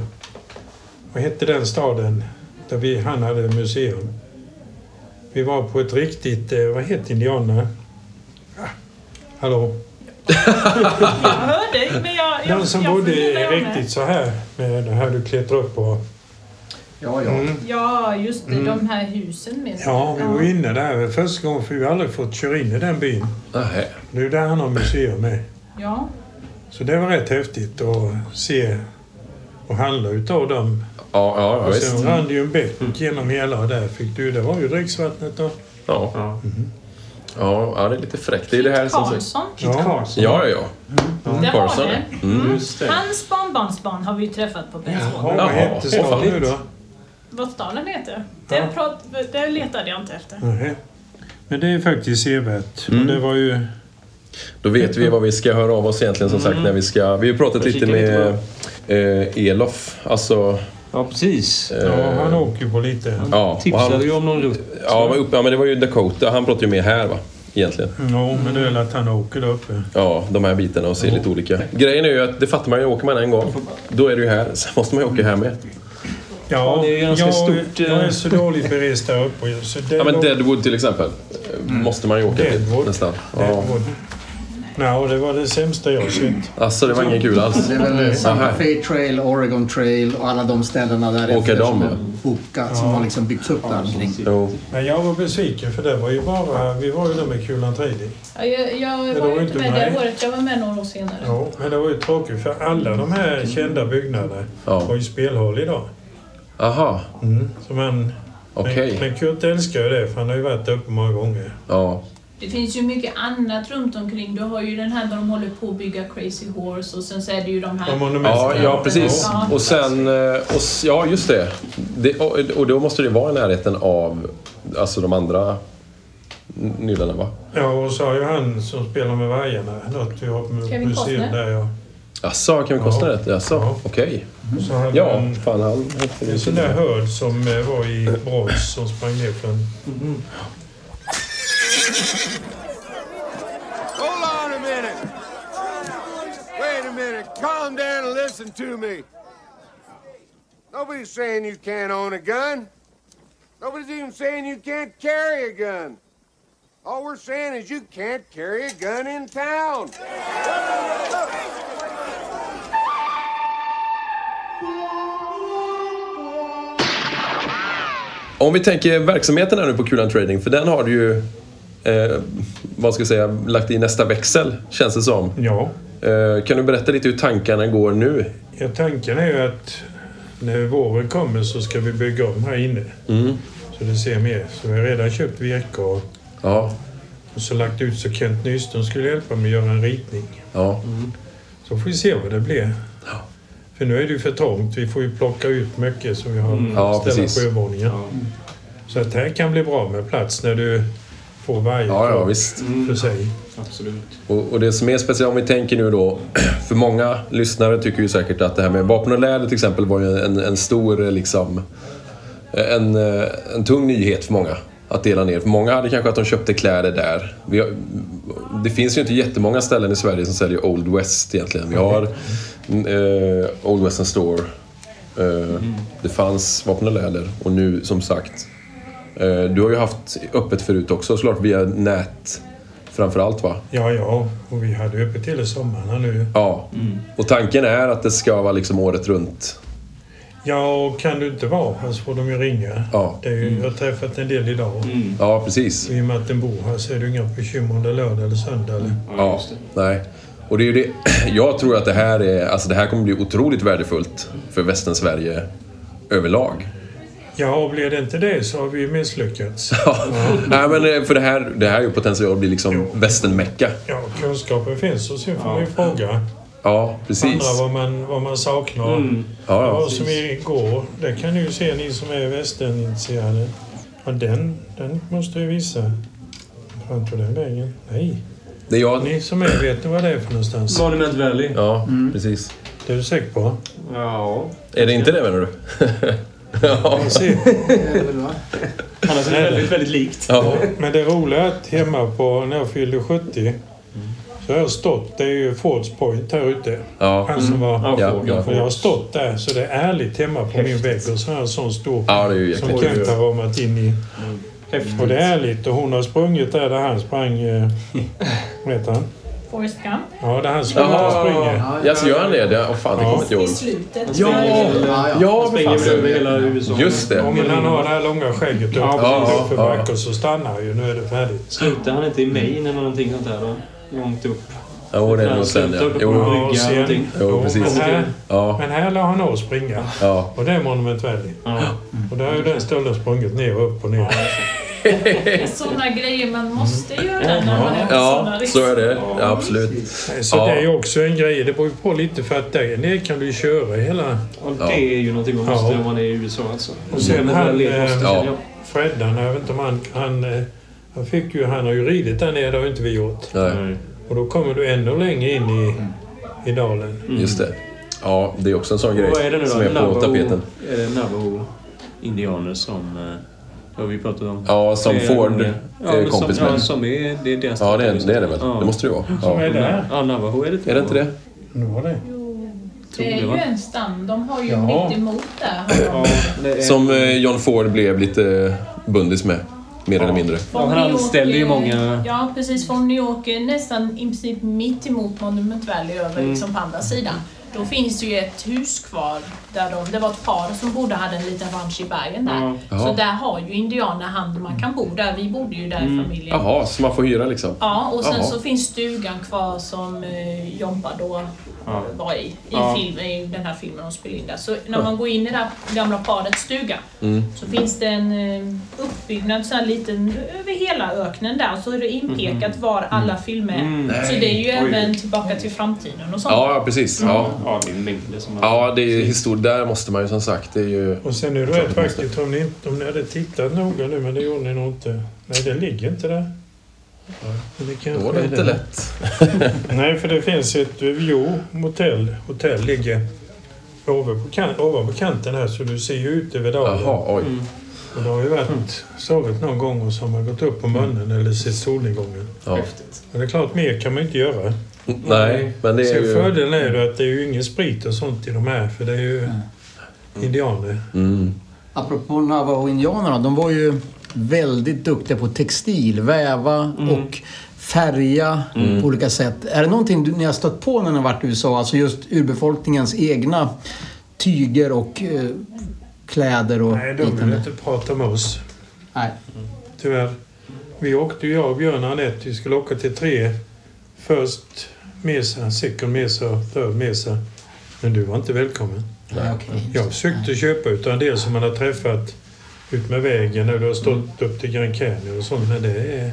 J: Vad hette den staden? Där vi, han hade museum. Vi var på ett riktigt... eh, Vad heter indianerna? Ah, Hallå?
H: Jag hör dig men jag... jag
J: Den som
H: jag
J: bodde
H: funderar med.
J: riktigt så här. Med det här du klättrar upp på.
I: Ja,
J: ja. Mm.
H: Ja just det.
J: Mm.
H: De här husen med sig.
J: Ja, vi var inne där första gången för vi har aldrig fått köra in i den byn.
A: Nej.
J: Det är ju där han har museum med.
H: Ja.
J: Så det var rätt häftigt att se och handla utav dem.
A: Ja, ja, ja
J: och sen
A: visst. Mm.
J: rann det ju en bäck genom hela och där fick du, det var ju dricksvattnet då.
A: Ja. Ja, ja, det är lite fräckt. Det är det här som...
H: Karlsson.
A: Ja. Ja, ja, ja.
H: Det var
A: Karlsson,
H: det.
A: ja. Mm.
H: Hans barnbarnsbarn har vi ju träffat på Bengtsfors.
J: Vad hette staden nu då?
H: Vad staden heter? Den prat, det letade jag inte efter.
J: Nej. Men det är faktiskt sevärt.
A: Mm.
J: Och det var ju...
A: Då vet vi vad vi ska höra av oss egentligen som sagt när vi ska... Vi har ju pratat
J: Jag
A: lite
J: kikar lite
A: med eh, Elof. Alltså...
K: Ja, precis.
J: Ja,
A: Eh.
J: han åker ju på lite.
A: Ja, och
K: tipsade
A: han-
K: ju om någon rutt.
A: Ja, var uppe, ja, men det var ju Dakota. Han pratar ju mer här va? Egentligen.
K: Mm.
J: Ja, men det är väl att han åker där uppe.
A: Ja, de här bitarna och ser lite olika. Grejen är ju att det fattar man ju, åker man en gång, då är det ju här. Sen måste man ju åka här med.
J: Ja,
A: det är ju ganska
J: jag,
A: stort, eh.
J: jag är så dåligt berest där uppe. Så det
A: Ja, men
J: var-
A: Deadwood till exempel. Måste man ju åka till nästan. Ja.
J: Deadwood. Nej, det var det sämsta jag sett.
A: Alltså, det var ingen kul alls.
I: Det är väl eh, Santa
A: Aha.
I: Fe Trail, Oregon Trail och alla de ställena där
A: Åka dem,
I: som,
A: ja.
I: har bokat, som har liksom byggts upp där omkring.
J: Men jag var besviken för det var ju bara... Vi var ju där med Kulan Trading.
H: Ja, jag jag
J: Det
H: var
J: var
H: ju inte
J: inte
H: med det
J: mig.
H: året. Jag var med några år senare.
J: Ja, men det var ju tråkigt för alla de här kända byggnaderna har ju spelhål idag.
A: Aha.
J: Mm. Så man,
A: Okej.
J: men, men Kurt älskar ju det för han har ju varit där uppe många gånger.
A: Ja.
H: Det finns ju mycket annat runt omkring. Du har ju den här där de håller på att bygga Crazy Horse och sen så är det ju de här...
A: Ja, ja, precis.
H: Ja.
A: Och sen... eh, Och, s- ja, just det. det och, och då måste det vara i närheten av alltså, de andra n- nyllarna, va?
J: Ja, och så har ju han som spelar med vargarna något vi har med
H: Kevin
J: museum
H: Costner.
J: där ja.
A: Jaså, kan vi kosta det? Jaså, okej.
J: Och så hade
A: Ja,
J: han
A: fan han...
J: en sån där hörd som eh, var i brons som sprang ner för en...
L: Hold on a minute. Wait a minute. Calm down and listen to me. Nobody's saying you can't own a gun. Nobody's even saying you can't carry a gun. All we're saying is you can't carry a gun in town.
A: Om vi tänker verksamheten här nu på Kulan Trading, för den har du ju... Eh, vad ska jag säga? Lagt i nästa växel, känns det som.
J: Ja.
A: Eh, kan du berätta lite hur tankarna går nu?
J: Ja, tanken är ju att när våren kommer så ska vi bygga om här inne.
A: Mm.
J: Så det ser mer. Så vi har redan köpt virke och,
A: Ja.
J: och så lagt ut så Kent Nyström skulle hjälpa mig att göra en ritning.
A: Ja.
J: Så får vi se vad det blir. För nu är det ju för trångt. Vi får ju plocka ut mycket som vi har
A: Mm. Ja,
J: ställa
A: precis.
J: på övervåningen. Så att här kan bli bra med plats när du får varje
A: Ja, ja,
J: kropp
A: visst.
J: för sig.
K: Absolut.
A: Och, och det som är speciellt, om vi tänker nu då, för många lyssnare tycker ju säkert att det här med vapen och läder till exempel var ju en, en stor eh, liksom... En, eh, en tung eh, nyhet för många. att dela ner. För många hade kanske att de köpte kläder där. Vi har, det finns ju inte jättemånga ställen i Sverige som säljer Old West egentligen. Vi har eh, Old Western Store. Eh, Det fanns Vapen och Läder och nu som sagt. Eh, du har ju haft öppet förut också såklart via nät framförallt va?
J: Ja, ja. Och vi hade ju öppet hela sommaren här nu.
A: Ja. Och tanken är att det ska vara liksom året runt.
J: Ja, och kan du inte vara här så får de ju ringa.
A: Ja. Mm.
J: Det är ju, Jag har träffat en del idag.
A: Ja, precis.
J: I och med att den bor här så är det ju inga bekymmer om det är lördag eller söndag. Eller?
A: Mm. Ja, nej. Och det är ju det. Jag tror att det här, är, alltså det här kommer bli otroligt värdefullt för västern Sverige överlag.
J: Ja, och blir det inte det så har vi ju misslyckats.
A: Nej, men eh, för det här, det här är ju potential att bli liksom västernmecka.
J: Ja, kunskapen finns och sen får man ju fråga
A: Ja, precis.
J: andra vad man, vad man saknar.
A: Mm. Ja, ja.
J: som igår, det kan ni ju se ni som är västernintresserade. Ja, den, den måste ju visa. Fan tog den vägen? Nej.
A: Det jag...
J: Ni som är vet ni vad det är för någonstans?
K: Monument Valley.
A: Ja, precis.
J: Det är du säker på?
K: Ja.
A: Är det inte det menar du? ja.
K: Annars är det väldigt, väldigt likt.
A: Ja.
J: Men det roliga är att hemma på när jag fyllde
A: Mm.
J: 70 så har jag stått, det är ju Fords Point här ute.
A: Ja.
J: Han som var,
A: Mm. Ja, ja.
J: Och jag har stått där så det är ärligt hemma på min vägg och så har jag en sån stor
A: Ja, det är ju
J: som
A: jäkligt.
J: Kent har ramat in i. Och det är ärligt och hon har sprungit där, där han sprang, eh, vad heter han?
H: Forrest Gump.
J: Ja, där han sprang, där han springer.
A: Ja, så gör han det? det? Åh fan, det kommer inte jag ihåg.
H: Slutet.
J: Ja,
H: ja,
J: ja,
K: springer
J: för
K: väl
J: fan.
K: över hela USA.
A: Just det.
J: Ja, men han har det här långa skägget
K: Ja,
J: upp
K: precis.
J: för
K: Ja.
J: back och så stannar ju. Nu är det färdigt.
K: Slutar han inte i Maine eller någonting sånt där då? Långt upp.
A: Jo, det är nog sen ja.
K: Slutar uppe på en brygga
A: Jo,
K: eller någonting.
A: jo precis.
J: Men här,
A: Ja.
J: men här lär han av springa.
A: Ja.
J: Och det är Monument Valley.
A: Mm.
J: Och där har ju den stölden sprungit ner och upp och ner.
H: Sådana grejer man måste göra när man är på sådana
A: ja,
H: resor.
A: så är det. Ja, absolut.
J: Så
A: Ja.
J: det är ju också en grej. Det beror ju på lite för att där nere kan du ju köra hela...
K: Och det är ju någonting man måste göra om man är i USA alltså.
A: Mm.
J: Och sen
K: Men
J: han...
K: det måste-
J: Eh,
K: ja.
J: Freddan, jag vet inte om han... Han, eh, han, fick ju, han har ju ridit där nere, det har ju inte vi gjort.
A: Nej.
J: Och då kommer du ännu längre in i,
A: Mm.
J: i dalen.
A: Just det. Ja, det är också en sån grej
K: Mm. Vad är det nu då?
A: som är på
K: Navajo-
A: tapeten.
K: Är det Navajo-indianer som... eh, Det har vi pratat om.
A: Ja, som
K: Flera
A: Ford
K: gånger.
A: är
K: men
A: kompis
K: som, Ja,
A: med.
K: som är... Det är deras
A: Ja, det är
K: status.
A: det, är det väl.
K: Ja.
A: Det måste det ju vara.
K: Som
A: Ja.
K: är det? Ja, Navajo är det
A: Är det inte det?
J: Var det?
H: Det är
A: det,
H: ju
A: va?
H: en stam. De har ju
A: Ja.
H: mitt emot där.
A: Som eh, John Ford blev lite eh, bundis med. Mer eller mindre.
H: Från New York, eh, Ja, precis. Från New York, eh, nästan i princip mitt emot Monument Valley över
A: Mm.
H: liksom på andra sidan. Då finns det ju ett hus kvar där de, det var ett par som bodde, hade en liten ranch i bergen där.
A: Ja.
H: Så
A: Ja.
H: där har ju indianer hand, man kan bo där. Vi bodde ju där i familjen.
A: Jaha, så man får hyra liksom?
H: Ja, och sen
A: Jaha.
H: så finns stugan kvar som eh, Jompa då
A: Ja.
H: var i, i,
A: Ja.
H: film, i den här filmen de spelade in där. Så när man går in i det här gamla parets stuga
A: Mm.
H: så finns det en eh, uppbyggnad så här liten över hela öknen där så är det
M: Mhm.
H: inpekat var alla filmer är.
A: Mm.
H: Så det är ju
A: Nej. Oj.
H: även Tillbaka till framtiden och sånt.
A: Ja, ja, precis. Ja.
K: Ja, det är mängder som
A: Ja, det är ju historia. Där måste man ju som sagt. Det är ju...
J: Och sen är det rätt vackert om ni, inte- om ni hade tittat noga nu, men det gjorde ni nog inte. Nej, det ligger inte där. Men Det kanske
A: Då var det
J: är
A: inte
J: där.
A: lätt.
J: Nej, för det finns ett... Jo, motell. Hotell ligger ovanpå, kan, ovanpå kanten här, så du ser ju ut över dalen.
A: Jaha, Mm. oj.
J: Mm. Och det har ju varit sovit någon gång och så har man gått upp på munnen eller sett solnedgången.
A: Mm. Ja.
J: Men det är klart, mer kan man ju inte göra.
A: Nej, men det är
J: Sen
A: ju-
J: Fördelen är ju att det är ju ingen sprit och sånt i de här, för det är ju
A: Mm.
J: indianer.
I: Apropå Navajo-indianerna, de var ju väldigt duktiga på textil, väva och färga
N: Mm.
I: på olika sätt. Är det någonting du- ni har stött på när ni har varit i USA? Alltså just urbefolkningens egna tyger och eh, kläder och
J: Nej, de
A: Mm.
J: vill inte prata med oss.
I: Nej.
J: Tyvärr. Vi åkte, jag och Björn och Anette, vi skulle åka till tre. Först Mesa, second Mesa, third Mesa. Men du var inte välkommen.
I: Nej, okej.
J: Jag försökte köpa utan det som man har träffat ut med vägen när du har stått upp till Grand Canyon och sånt. Men det är...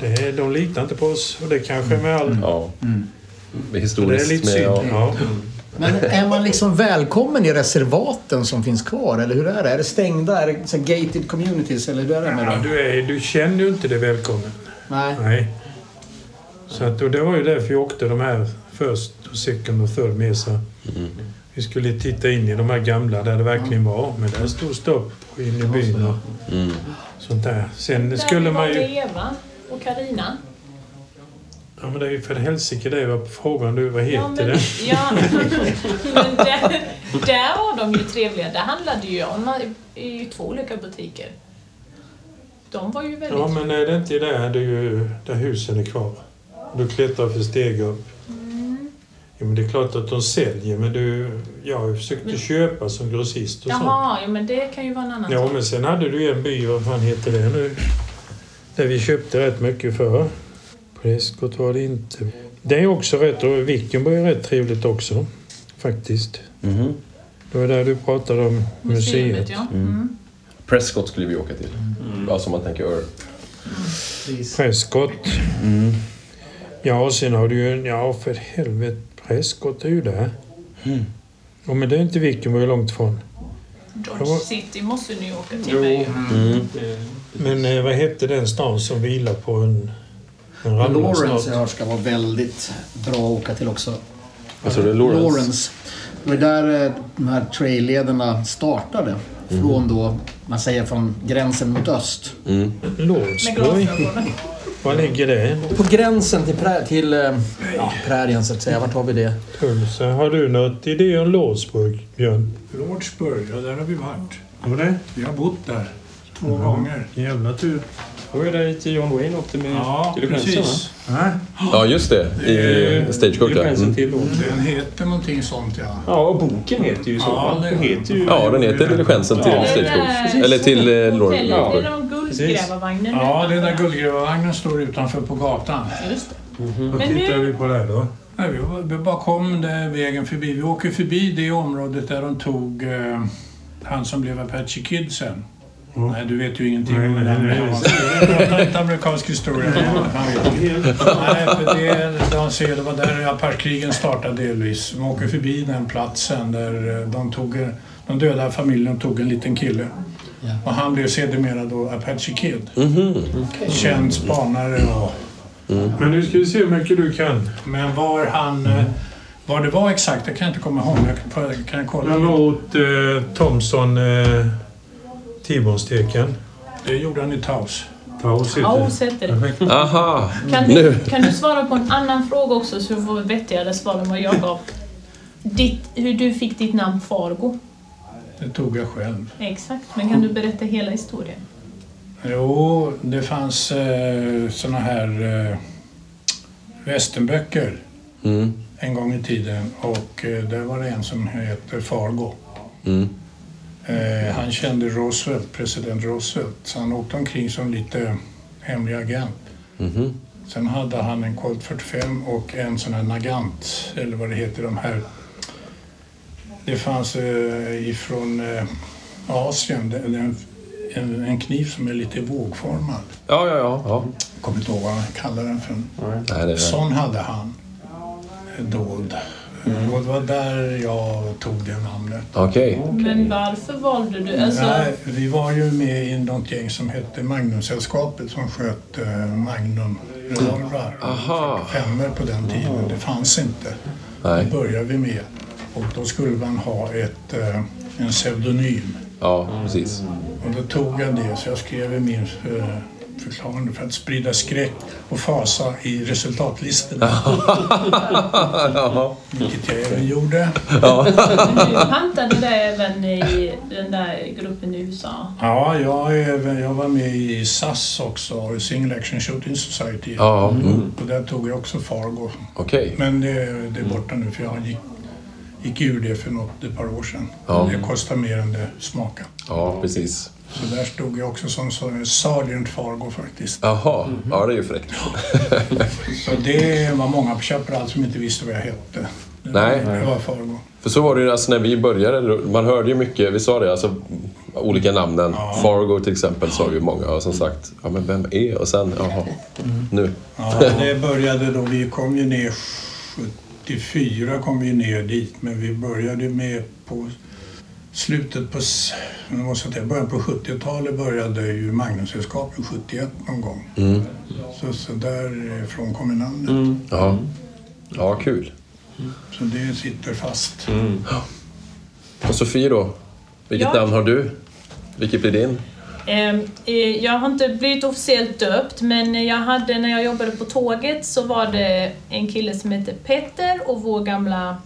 J: Det är de litar inte på oss och det kanske är med all...
A: Ja.
J: Det är
A: Historiskt
J: lite
A: med...
J: synd.
A: Mm. Ja.
J: Ja.
I: Men är man liksom välkommen i reservaten som finns kvar? Eller hur är det? Är det stängda? Är det så här gated communities? Eller hur är det med
J: Ja,
I: dem?
J: du, är, du känner ju inte dig välkommen.
I: Nej.
J: Nej. Så att, och det var ju därför jag åkte de här först, second och third mesa.
M: Vi skulle titta in i de här gamla där det verkligen var. Men där stod stopp och in i byn och sånt där. Sen skulle
H: Där
M: man
H: var
M: ju...
H: det Eva och Karina.
M: Ja men det är ju för helsike det var frågan du. Vad
H: Ja,
M: heter
H: men,
M: det?
H: ja, men där, där var de ju trevliga. Där handlade ju om eh, i två olika butiker. De var ju väldigt...
M: Ja men är det inte där, det är ju där husen är kvar? Du klättrar för steg upp.
H: Mm.
M: Ja, men det är klart att de säljer men du... Jag försökte köpa som grossist och sånt.
H: Jaha, ja, men det kan ju vara en annan typ
M: Ja,
H: sak.
M: men sen hade du ju en by, vad fan heter det nu? Där vi köpte rätt mycket för. Prescott var det inte. Det är också rätt, och Viken var ju rätt trevligt också. Faktiskt. Det var där du pratade om museet. Mm.
H: Museet, ja.
A: Prescott skulle vi åka till. Ja, som man tänker Earp.
M: Prescott. Ja, och sen har du ju... en- Ja, för helvete. Prescott är ju där. Ja, men det är inte Viken, var ju långt ifrån.
H: Dodge City måste ni ju åka till
M: Jo.
H: med ju.
M: Mm. Men eh, vad hette den stan som vilar på en... en ramla
O: Lawrence
M: snart?
O: jag hört ska vara väldigt bra att åka till också.
A: Vad sa du? Lawrence?
O: Lawrence. Det var där eh, de här traillederna startade. Från då, man säger från gränsen mot öst.
A: Mm.
I: Lorensburg.
M: Var ligger det?
I: På gränsen till, prä, till eh, ja, prärien så att säga. Vart har vi det?
M: Tulsa. Har du något idé om Lordsburg, Björn?
J: Lordsburg, ja där har vi varit.
M: Har det?
J: Vi har bott där. Två
M: Mhm.
J: gånger.
M: Jävla tur.
J: Då är det till John Wayne åkte med ja,
P: diligensen,
J: precis. Va?
A: Ja, just det. I Stagecoach, ja.
J: diligensen
A: Mm.
J: till Lordsburg. Den heter någonting sånt ja.
B: Ja, och boken heter ju så.
J: Ja, det-
B: den heter ju...
A: Ja, den heter Diligensen till
B: Ja.
A: Stagecoach.
H: Precis.
A: Eller till eh,
H: Hotellet, det är
A: Lawrence.
H: de guldgrävarvagnen
J: Ja,
H: utanför.
J: den där guldgrävarvagnen står utanför på gatan.
H: Just det.
M: Vad
J: Men nu-
M: tittar vi på där då?
J: Nej, vi, var- vi bara kom den vägen förbi. Vi åker förbi det området där de tog eh, han som blev Apache Kid sen.
M: Mm.
J: Nej, du vet ju ingenting om det. Prata inte amerikansk historia. Han vet ju. Nej, för det, de ser, det var där Apache-krigen startade delvis. De åker förbi den platsen där eh, de, tog, eh, de döda familjen tog en liten kille. Och han blev sedermera då Apache Kid. Känd spanare och
M: Men nu ska vi se hur mycket du kan.
J: men var han...
M: Mm.
J: eh, Var det var exakt, det kan jag inte komma ihåg. men Jag kan, kan jag
M: Den
J: kolla.
M: var åt eh, Thomson eh, Tibornsteken.
J: Det gjorde han i Taos.
M: Taos
H: Taos heter det.
A: Aha!
H: Kan
A: Nu.
H: du, kan du svara på en annan fråga också så du får vettigare svar än vad jag gav? Ditt, hur du fick ditt namn Fargo.
J: Det tog jag själv.
H: Exakt, men kan du berätta hela historien?
J: Jo, det fanns eh, såna här eh, västernböcker
A: Mm.
J: en gång i tiden och eh, där var det en som heter Fargo.
A: Mm.
J: Eh, han kände Roosevelt, president Roosevelt, så han åkte omkring som lite hemlig agent.
A: Mhm.
J: Sen hade han en Colt 45 och en sån här Nagant, eller vad det heter de här. Det fanns eh, ifrån eh, Asien det- det är en, en, en kniv som är lite vågformad.
A: Ja, ja, ja. ja.
J: Kommer inte ihåg vad han kallar den för.
A: Nej, det är-
J: Sån hade han eh, dold. Eh, Och det var där jag tog det namnet.
A: Okej.
H: Men varför valde du... Alltså,
J: Mm, Nej, vi var ju med i något gäng som hette Magnumsällskapet som sköt eh, Magnum-revolvrar.
A: Aha.
J: Femmor på den tiden, det fanns inte.
A: Nej.
J: Det började vi med. Och då skulle man ha ett, eh, en pseudonym.
A: Ja, precis.
J: Och då tog jag det, så jag skrev i min eh, förklaring för att sprida skräck och fasa i resultatlistorna.
A: Jaha.
J: Vilket jag även gjorde.
H: Du pantade det även i den där gruppen i USA.
J: Ja, jag, är, även- jag var med i SAS också, Single Action Shooting Society.
A: Ja, mm.
J: Och där tog jag också Fargo.
A: Okej.
J: Men det, det är borta nu för jag gick, gick ur det för något, ett par år sedan.
A: Ja.
J: Det kostar mer än det smakar.
A: Ja, precis.
J: Så där stod jag också som, som Sergeant Fargo faktiskt.
A: Jaha. Ja, det är ju fräckt.
J: Så det var många på Chaparral som inte visste vad jag hette.
A: Nej.
J: Det var Fargo.
A: För så var det ju alltså när vi började. då- Man hörde ju mycket, vi sa det, alltså olika namnen. Fargo till exempel sa ju många. Och som sagt, ja men vem är Och sen, jaha, nu.
J: Ja, det började då, vi kom ju ner 74 kom vi ner dit, men vi började med på slutet på, s- nu måste jag säga, början på 70-talet började ju Magnussällskapet 71 någon gång.
A: Mm.
J: Så, så därifrån kommer namnet.
A: Ja. ja, kul.
J: Så det sitter fast.
A: Och Sofie då? Vilket
H: Jag?
A: namn har du? Vilket blir din?
H: Ehm, eh, Jag har inte blivit officiellt döpt, men jag hade, när jag jobbade på tåget så var det en kille som hette Petter och vår gamla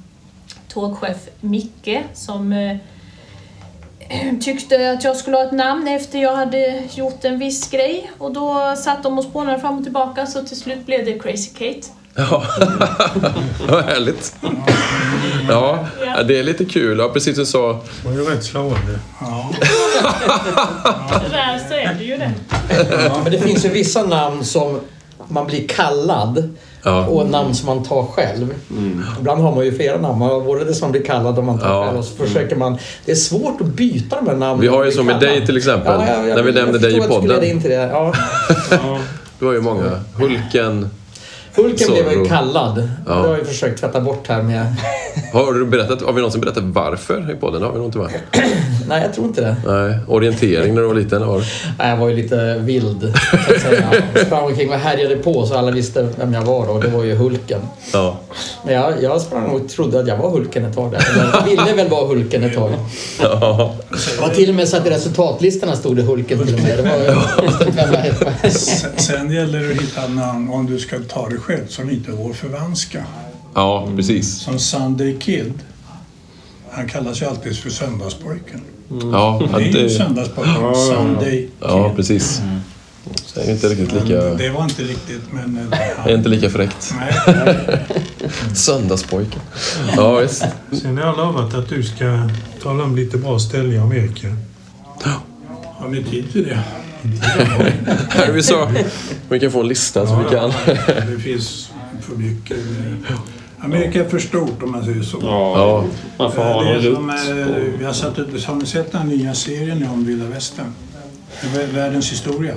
H: tågchef Micke som eh, tyckte att jag skulle ha ett namn efter jag hade gjort en viss grej. Och då satt de och spånade fram och tillbaka så till slut blev det Crazy Kate.
A: Ja, vad härligt. Ja,
H: Ja.
A: det är lite kul. Ja, precis som du sa.
B: Det var ju rätt slående.
H: Tyvärr så är det ju det.
I: Ja, men det finns ju vissa namn som man blir kallad och namn som man tar själv.
A: Mm.
I: Ibland har man ju flera namn. Man har både det som blir kallad och man tar själv och så försöker man. Det är svårt att byta de här namnen.
A: Vi har ju
I: man
A: så
I: blir
A: med
I: kallad.
A: dig till exempel,
I: Ja, ja, ja,
A: när vi nämnde dig i
I: Jag förstår
A: podden.
I: att du skulle leda in till det. Ja.
A: Du har ju många. Hulken.
I: Hulken blev jag
A: Zorro.
I: ju kallad.
A: Ja.
I: Det har jag ju försökt tvätta bort här med...
A: Har, du berättat, har vi någonsin berättat varför i podden? har vi nog inte va?
I: Nej, jag tror inte det.
A: Nej, orientering när du var liten var det.
I: Nej, jag var ju lite vild, så att säga. Sprang omkring och härjade på så alla visste vem jag var och det var ju Hulken.
A: Ja.
I: Men jag, jag sprang och trodde att jag var Hulken ett tag där. Eller ville väl vara Hulken ett tag.
A: Ja.
I: Och till och med så att i resultatlistorna stod det Hulken till och med. Det var ju... vem jag hette.
J: Sen, sen gäller det att hitta namn om du ska ta det själv som inte går att förvanska.
A: Ja, precis.
J: Som Sunday Kid. Han kallas ju alltid för Söndagspojken.
A: Ja,
J: det är
A: att
J: ju
A: det-
J: Söndagspojken. Sunday
A: Ja, precis. Så det är inte riktigt lika...
J: Men Det var inte riktigt, men... eh,
A: Det är inte lika fräckt. Söndagspojken. Ja, visst.
B: Sen har jag lovat att du ska tala om lite bra ställen i Amerika.
J: Har ni tid till det?
A: Här vi sa vi kan få en lista så vi kan...
J: Det finns för mycket. Amerika är för stort om man säger så.
A: Ja, man får ha
J: Det är
A: någon
J: som,
A: rutt
J: eh, Vi har, satt ut, har ni sett den nya serien nu om vilda västern? Det är Världens historia.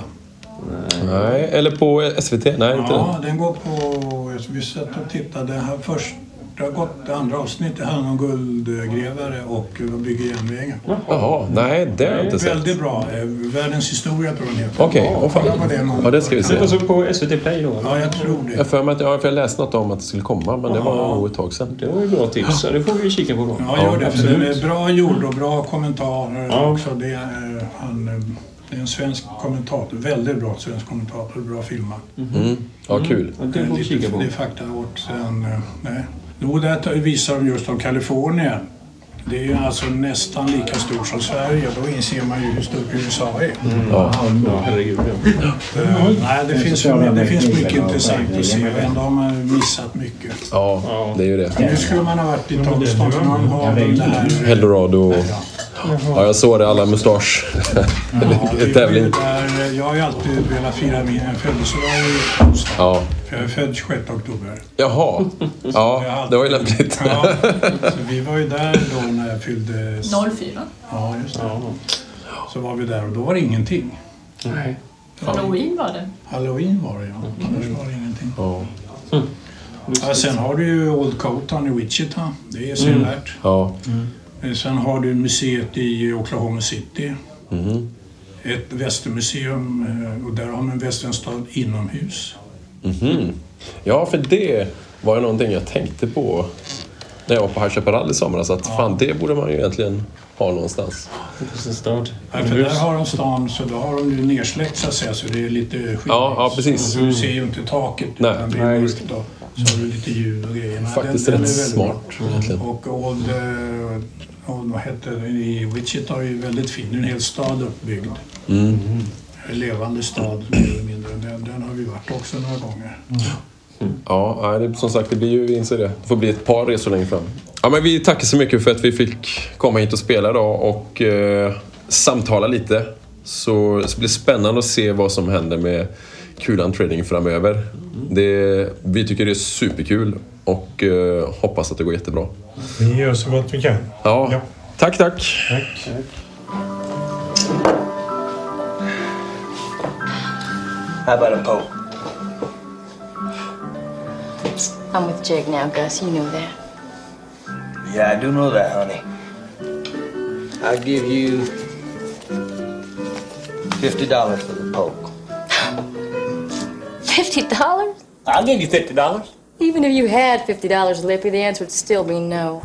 A: Nej, eller på SVT? Nej, inte
J: Ja,
A: den.
J: den går på... Vi satt och tittade. Det här första, gott, det andra avsnittet handlar om guldgrävare och eh, bygger järnvägar.
A: Jaha, nej det har jag inte sett.
J: Väldigt bra. Eh, Världens historia tror jag den heter.
A: Okej, åh
J: kolla på det
A: fan.
J: någon
A: Ja, det ska vi se.
J: gång.
A: på SVT Play då?
J: Ja, jag tror det.
A: Jag har för mig att jag, för jag läste något om att det skulle komma, men det var nog ett tag sedan. Det var ju bra tips, så det får vi kika på då.
J: Ja, gör det. För den är bra gjord och bra kommentarer
A: Ja.
J: också. Det är, eh, han, eh, det är en svensk kommentator. Väldigt bra svensk kommentator. Bra filmat.
A: Mm. Ja, kul.
J: Det är lite, det är fakta åt sen... eh, Nej. Jo, där tar- visar de just om Kalifornien. Det är ju alltså nästan lika stort som Sverige. Då inser man ju hur stort USA är.
A: Ja,
J: Ja.
A: ja herregud.
J: Eh, Nej, det,
A: Den
J: finns,
A: sociala
J: det finns mycket
A: medier-
J: intressant att se och ändå har man missat mycket.
A: Mm. Ja, det är ju det.
J: Nu skulle man ha varit i Tomstad för man har den där...
A: Eldorado och... Ja, jag såg det. Alla mustasch. Tävling.
J: där, eh, Jag har ju alltid velat fira min födelsedag i Tomstad.
A: Ja.
J: För jag är född 26 oktober.
A: Jaha. Ja, det var ju lämpligt.
J: Ja, så vi var ju där då när jag fyllde...
H: 04.
J: Ja, just det. Så var vi där och då var det ingenting.
H: Nej.
J: Ja.
H: Halloween var det.
J: Halloween var det ja. Annars var det ingenting.
A: Ja.
J: Ja, sen har du ju Old Coton i Wichita. Det är sevärt.
A: Ja.
J: Eh, Sen har du museet i Oklahoma City.
A: Mhm.
J: Ett västermuseum eh, och där har man västernstad inomhus.
A: Mhm. Ja, för det var ju någonting jag tänkte på när jag var på High Chaparral i somras. Att fan, det borde man ju egentligen ha någonstans.
J: Västernstad. Ja, för där har de stan så då har de ju nersläckt så att säga så det är lite skymnings.
A: Ja, ja, precis.
J: Så du ser ju inte taket
A: Nej.
J: utan det är mörkt och så har du lite ljud och grejer. Nej,
A: Faktiskt rätt
J: är väldigt
A: smart
J: bra.
A: egentligen.
J: Och Old, eh, old vad heter det, i Wichita är ju väldigt fin. Det är en hel stad uppbyggd.
A: Mm.
J: En levande stad mer eller mindre. Den, den har vi varit också några gånger.
A: Ja, nej, det, som sagt, det blir ju, vi inser det. Det får bli ett par resor längre fram. Ja, men vi tackar så mycket för att vi fick komma hit och spela idag och eh, samtala lite. Så det blir spännande att se vad som händer med Kulan Trading framöver. Det, vi tycker det är superkul och eh, hoppas att det går jättebra.
B: Vi gör så gott vi kan.
A: Ja, Tack, tack.
B: Tack.
G: How about a Pope?
Q: I'm with Jig now, Gus. You knew that.
G: Yeah, I do know that, honey. I'll give you fifty dollars for the poke.
Q: Fifty dollars?
G: I'll give you fifty dollars.
Q: Even if you had fifty dollars, Lippy, the answer would still be no.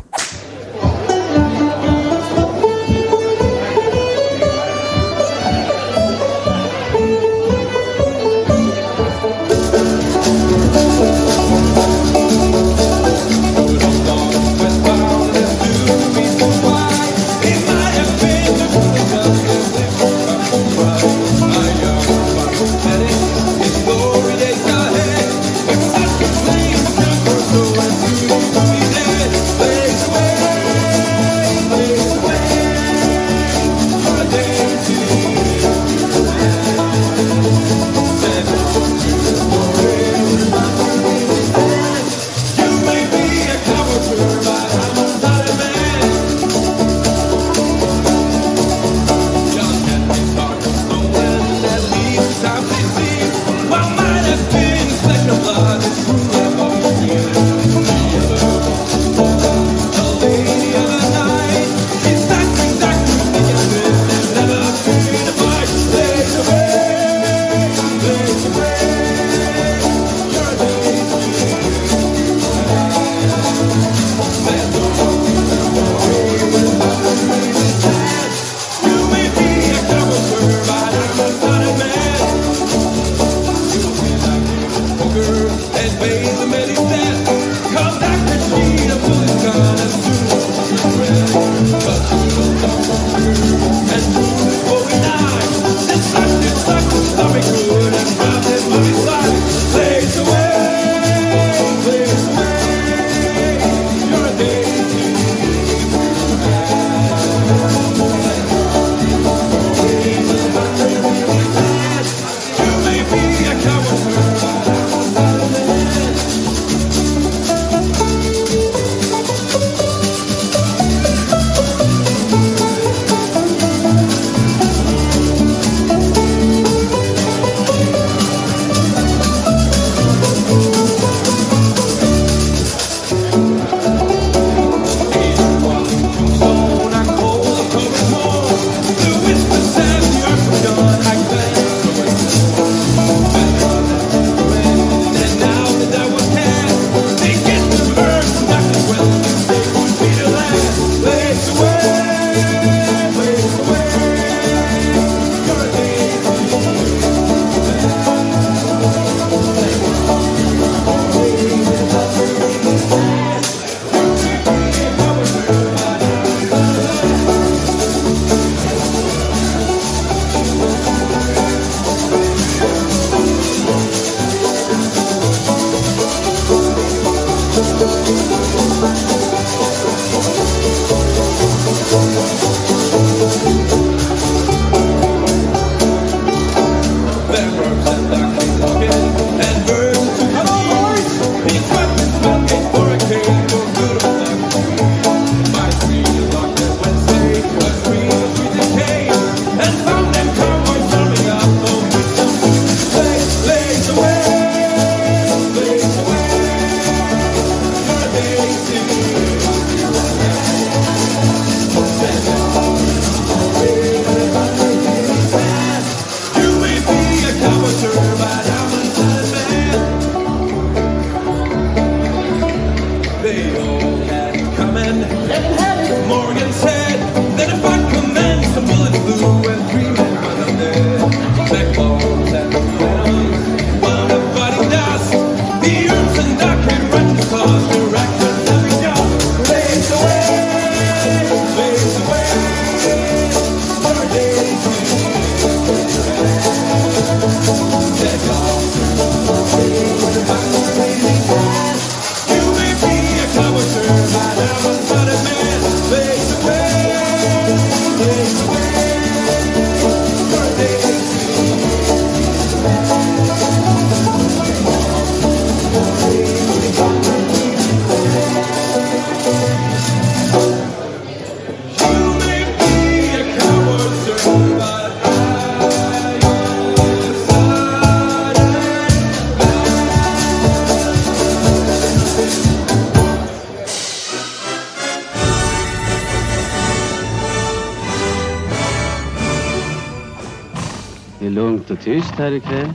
R: Det är lugnt och tyst här ikväll.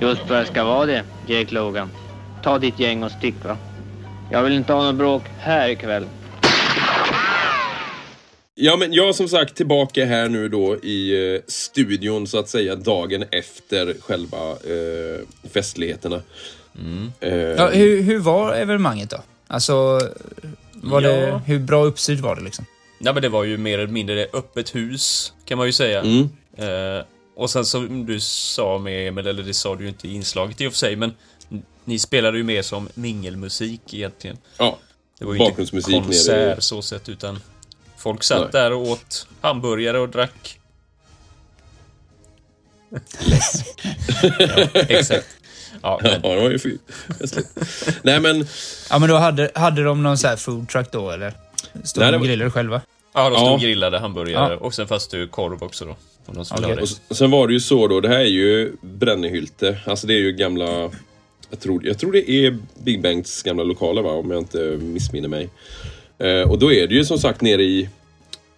F: Just vad det ska vara det, Jake Logan. Ta ditt gäng och stick va. Jag vill inte ha något bråk här ikväll.
A: Ja, men jag är som sagt tillbaka här nu då i eh, studion så att säga dagen efter själva eh, festligheterna. Eh,
C: Ja, hur, hur var evenemanget då? Alltså, var
B: Ja.
C: det, hur bra uppstyrt var det liksom?
B: Nej men det var ju mer eller mindre öppet hus kan man ju säga.
A: Mm.
B: Eh, och sen som du sa med Emil, eller det sa du ju inte i inslaget i och för sig, men ni spelade ju mer som mingelmusik egentligen.
A: Ja,
B: Det var ju
A: bakgrundsmusik
B: inte
A: nere i-
B: konsert så sett utan folk satt
A: Nej.
B: där och åt hamburgare och drack. ja, exakt. Ja, men...
A: det var ju fint. Nej men...
C: Ja men då hade, hade de någon så här food truck då eller? Stod
B: Nej,
C: de
B: det
C: och
B: var-
C: grillade själva?
B: Ja, de stod
A: Ja.
B: och grillade hamburgare
C: Ja.
B: och sen fanns det ju korv också då. Om de skulle
A: Okej.
B: ha
A: Och
B: det.
A: s- sen var det ju så då, det här är ju Brännehylte. Alltså det är ju gamla... Jag tror, jag tror det är Big Bangs gamla lokaler va, om jag inte missminner mig. Eh, och då är det ju som sagt nere i...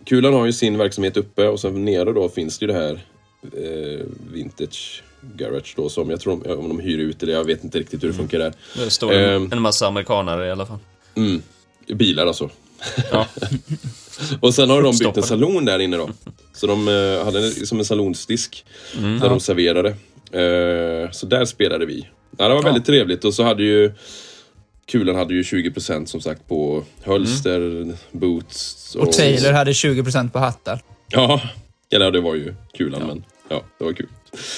A: Kulan har ju sin verksamhet uppe och sen nere då finns det ju det här eh, Vintage Garage då som jag tror de, om de hyr ut det, jag vet inte riktigt hur det funkar där.
B: Mm. Det står
A: Ehm,
B: en, en massa amerikanare i alla fall.
A: Mm. Bilar alltså. och sen har de byggt en
B: Uppstoppade.
A: salon där inne då. Så de eh, hade en, som en salonsdisk
B: Mm.
A: där
B: Ja.
A: de serverade. Eh, så där spelade vi. Ja, det var väldigt trevligt och så hade ju Kulan hade ju 20% som sagt på hölster,
B: Mm.
A: boots
C: Och Taylor hade 20% på hattar.
A: Ja, eller det var ju Kulan men ja, det var kul.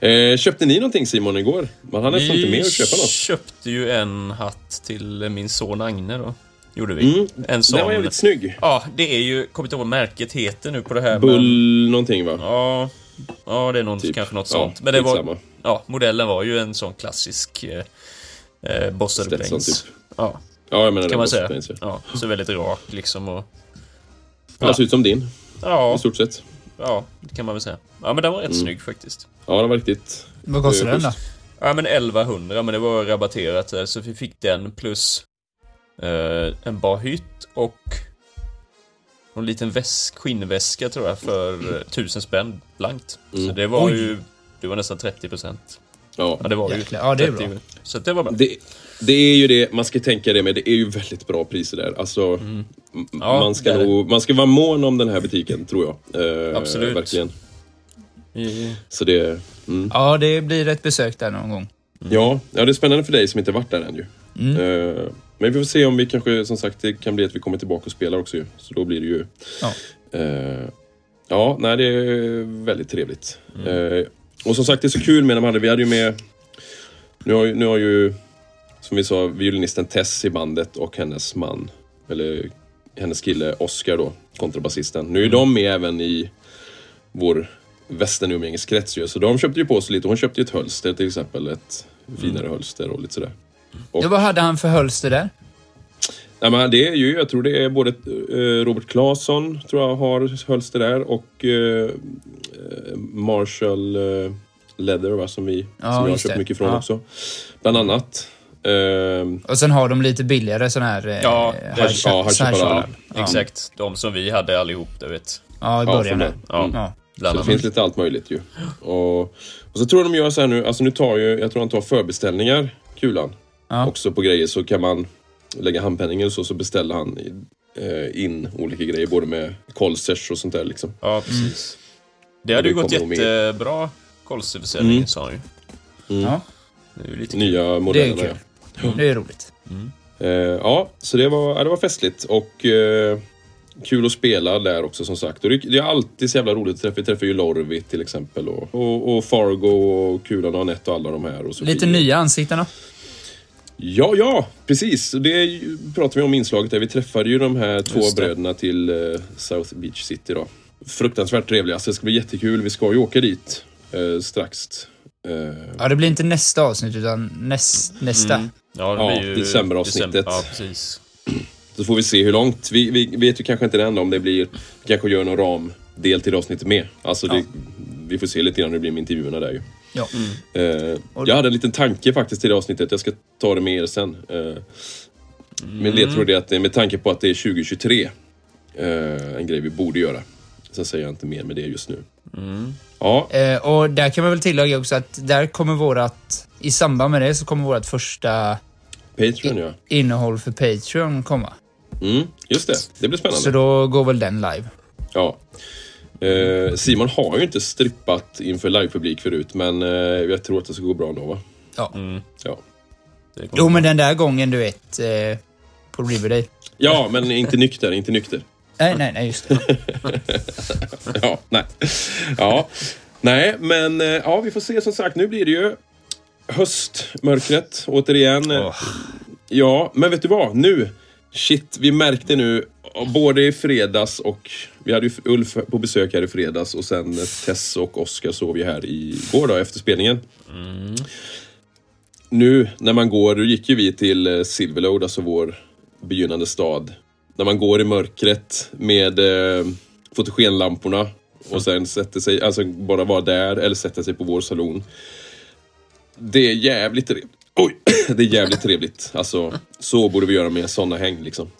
A: Eh, köpte ni någonting Simon igår? Man hann nästan inte med att köpa något.
B: köpte ju en hatt till min son Agne då. Gjorde vi.
A: Mm. Den
B: En sån.
A: var jävligt snygg.
B: Ja, det är ju, kommer inte ihåg vad märket heter nu på det här.
A: Bull någonting va? Typ.
B: Ja, ja det är någon, kanske något
A: Ja,
B: sånt. Men det var,
A: skitsamma.
B: ja, modellen var ju en sån klassisk eh, eh, Bosser
A: Stetson,
B: Bangs.
A: typ.
B: Ja.
A: Ja, jag menar det,
B: kan man
A: Bosser
B: säga.
A: Bangs, ja.
B: ja. Så väldigt rak liksom och...
A: Den ser ut som din.
B: Ja.
A: I stort sett.
B: Ja, det kan man väl säga. Ja, men den var rätt
A: Mm.
B: snygg faktiskt.
A: Ja, den var riktigt...
C: Vad kostar
A: eh,
C: den då?
A: schysst.
B: Ja, men 1100, men det var rabatterat där, så vi fick den plus eh, en barhytt och en liten väsk, skinnväska tror jag för eh, 1000 spänn blankt. Så
A: Mm.
B: det var
A: Oj.
B: ju det var nästan 30 procent.
A: Ja.
B: det var ju.
A: Jäklar. Ja, det är bra.
B: Så att det var bra.
A: Det, det är ju det, man ska tänka det med, det är ju väldigt bra priser där. Alltså, m-
B: Mm. Ja,
A: man,
B: det
A: ska
B: är det.
A: nog, man ska vara mån om den här butiken, tror jag. Eh,
B: Absolut.
A: Verkligen.
B: I-
A: Så det, mm.
C: Ja, det blir ett besök där någon gång.
A: ja, ja, det är spännande för dig som inte varit där än ju.
C: Mm.
A: Eh, men vi får se om vi kanske, som sagt, det kan bli att vi kommer tillbaka och spelar också ju. Så då blir det ju...
C: Ja.
A: Eh, ja, nej det är väldigt trevligt.
C: Mm.
A: Eh, och som sagt, det är så kul med de hade, vi hade ju med... Nu har, ju- nu har ju, som vi sa, violinisten Tess i bandet och hennes man, eller hennes kille Oscar då, kontrabasisten. Nu är
C: Mm.
A: de med även i vår västernumgängeskrets ju, så de köpte ju på sig lite. Hon köpte ju ett hölster till exempel, ett
C: Mm.
A: finare hölster och lite sådär. Och-
C: Ja, vad hade han för hölster där?
A: Nej, men det är ju, jag tror det är både eh, Robert Claesson, tror jag har hölster där och eh, eh, Marshall eh, Leather va, som, vi,
C: Ja,
A: som jag har
C: just
A: köpt
C: det.
A: mycket från
C: Ja.
A: också. Bland annat. Ehm,
C: Och sen har de lite billigare sån här... eh,
B: Ja,
C: high
B: det-
C: shot-
A: ja, high
C: sån här
A: shot,
C: kjolar.
A: ja.
C: Ja.
B: Exakt, de som vi hade allihop, du vet.
C: Ja, i början där.
B: Ja,
A: Mm.
B: bland
A: så det
B: annat.
A: finns lite allt möjligt ju. Och, och så tror jag de gör så här nu, alltså nu tar ju, jag tror han tar förbeställningar, Kulan. Också på grejer så kan man lägga handpenningen och så, så beställer han eh, in olika grejer, både med kolsers och sånt där liksom.
B: Ja, precis. Det hade ju gått
A: kommer nog med.
B: jättebra, kolseförsäljningen
A: Mm.
B: sa han ju.
A: Mm.
C: Ja.
B: Det är ju lite
A: Nya
C: Det är
A: modellerna.
C: kul.
A: ja.
C: Det är roligt.
A: Eh, ja, så det var, ja, det var festligt och eh, kul att spela där också som sagt. Och det, det är alltid så jävla roligt att träffa. Vi träffar ju Lorvi till exempel och, och, och Fargo och Kulan och Anette och alla de här. Och Sofie.
C: Lite nya ansikten då?
A: Ja, ja, precis. Det ju- pratade vi om i inslaget där. Vi träffade ju de här två
B: Just det.
A: bröderna till eh, South Beach City då. Fruktansvärt trevliga, så det ska bli jättekul. Vi ska ju åka dit eh, strax. Eh,
C: Ja, det blir inte nästa avsnitt utan näst, nästa.
A: Mm.
B: Ja,
A: det blir ju decemberavsnittet.
B: december- Ja, precis.
A: Så får vi se hur långt. Vi, vi vet ju kanske inte än om det blir... Vi kanske gör någon ramdel till det avsnittet med. Alltså det, Vi får se lite grann hur det blir med intervjuerna där ju.
C: Ja.
A: Eh, jag hade en liten tanke faktiskt till det avsnittet. Jag ska ta det med er sen. Eh, Min ledtråd är eh, att det- med tanke på att det är 2023, eh, en grej vi borde göra. Sen säger jag inte mer med det just nu. Ja.
C: Eh, och där kan man väl tillägga också att där kommer vårat, i samband med det så kommer vårat första
A: Patreon ja.
C: innehåll för Patreon komma.
A: Mm, just det, det blir spännande.
C: Så då går väl den live.
A: Ja. Eh, Simon har ju inte strippat inför livepublik förut, men eh, jag tror att det ska gå bra ändå va?
C: Ja.
A: ja.
C: Jo, men den där gången du vet, eh, på Riverdale.
A: Ja, men inte nykter, inte nykter.
C: Nej, nej, nej, just det.
A: ja, nej. Ja, nej, men eh, ja, vi får se som sagt. Nu blir det ju höstmörkret återigen. Ja, men vet du vad? Nu, shit, vi märkte nu både i fredags och vi hade ju Ulf på besök här i fredags och sen Tess och Oskar sov ju här igår då efter spelningen. Nu när man går, då gick ju vi till eh, Silverlode, alltså vår begynnande stad. När man går i mörkret med eh, fotogenlamporna och sen sätter sig, alltså bara vara där eller sätta sig på vår salon. Det är jävligt trevligt. Oj! Det är jävligt trevligt. Alltså, så borde vi göra med sådana häng liksom.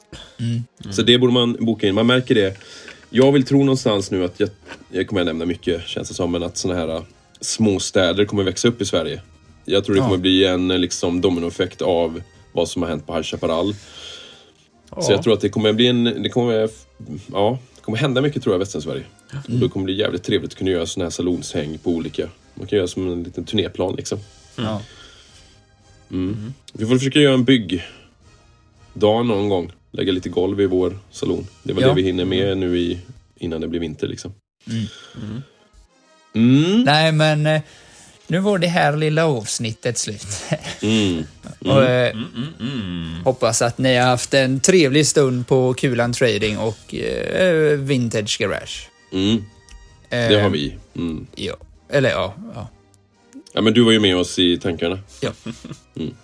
A: Så det borde man boka in. Man märker det. Jag vill tro någonstans nu att, jag, jag kommer att nämna mycket känns det som, men att sådana här äh, småstäder kommer växa upp i Sverige. Jag tror det
S: Ja.
A: kommer bli en eh, liksom, dominoeffekt av vad som har hänt på High Chaparral. Så
S: Ja.
A: jag tror att det kommer bli en... Det kommer, ja, det kommer hända mycket tror jag i västra Sverige.
S: Mm.
A: Och Det kommer bli jävligt trevligt att kunna göra sådana här salonshäng på olika... Man kan göra som en liten turnéplan liksom.
C: Ja.
A: Mm. Vi får försöka göra en byggdag någon gång. Lägga lite golv i vår salon. Det var
C: Ja.
A: det vi hinner med nu i, innan det blir vinter. Liksom.
C: Mm.
A: Mm.
C: Nej, men eh, nu var det här lilla avsnittet slut.
A: Mm.
C: Och, eh, Hoppas att ni har haft en trevlig stund på Kulan Trading och eh, Vintage Garage. Eh,
A: Mm. Det
C: Ehm.
A: har vi. Mm.
C: Ja. Eller ja, ja.
A: ja, men du var ju med oss i tankarna.
C: Ja.
A: Mm.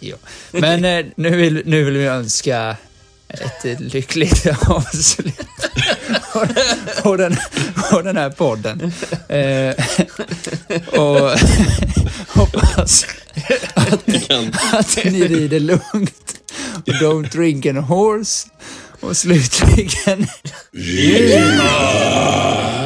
C: ja. Men eh, nu, vill, nu vill vi önska ett eh, lyckligt avslut på, på, den, på den här podden. Eh, och hoppas att, att ni rider lugnt och don't drink and horse. Och slutligen...
A: Yeah!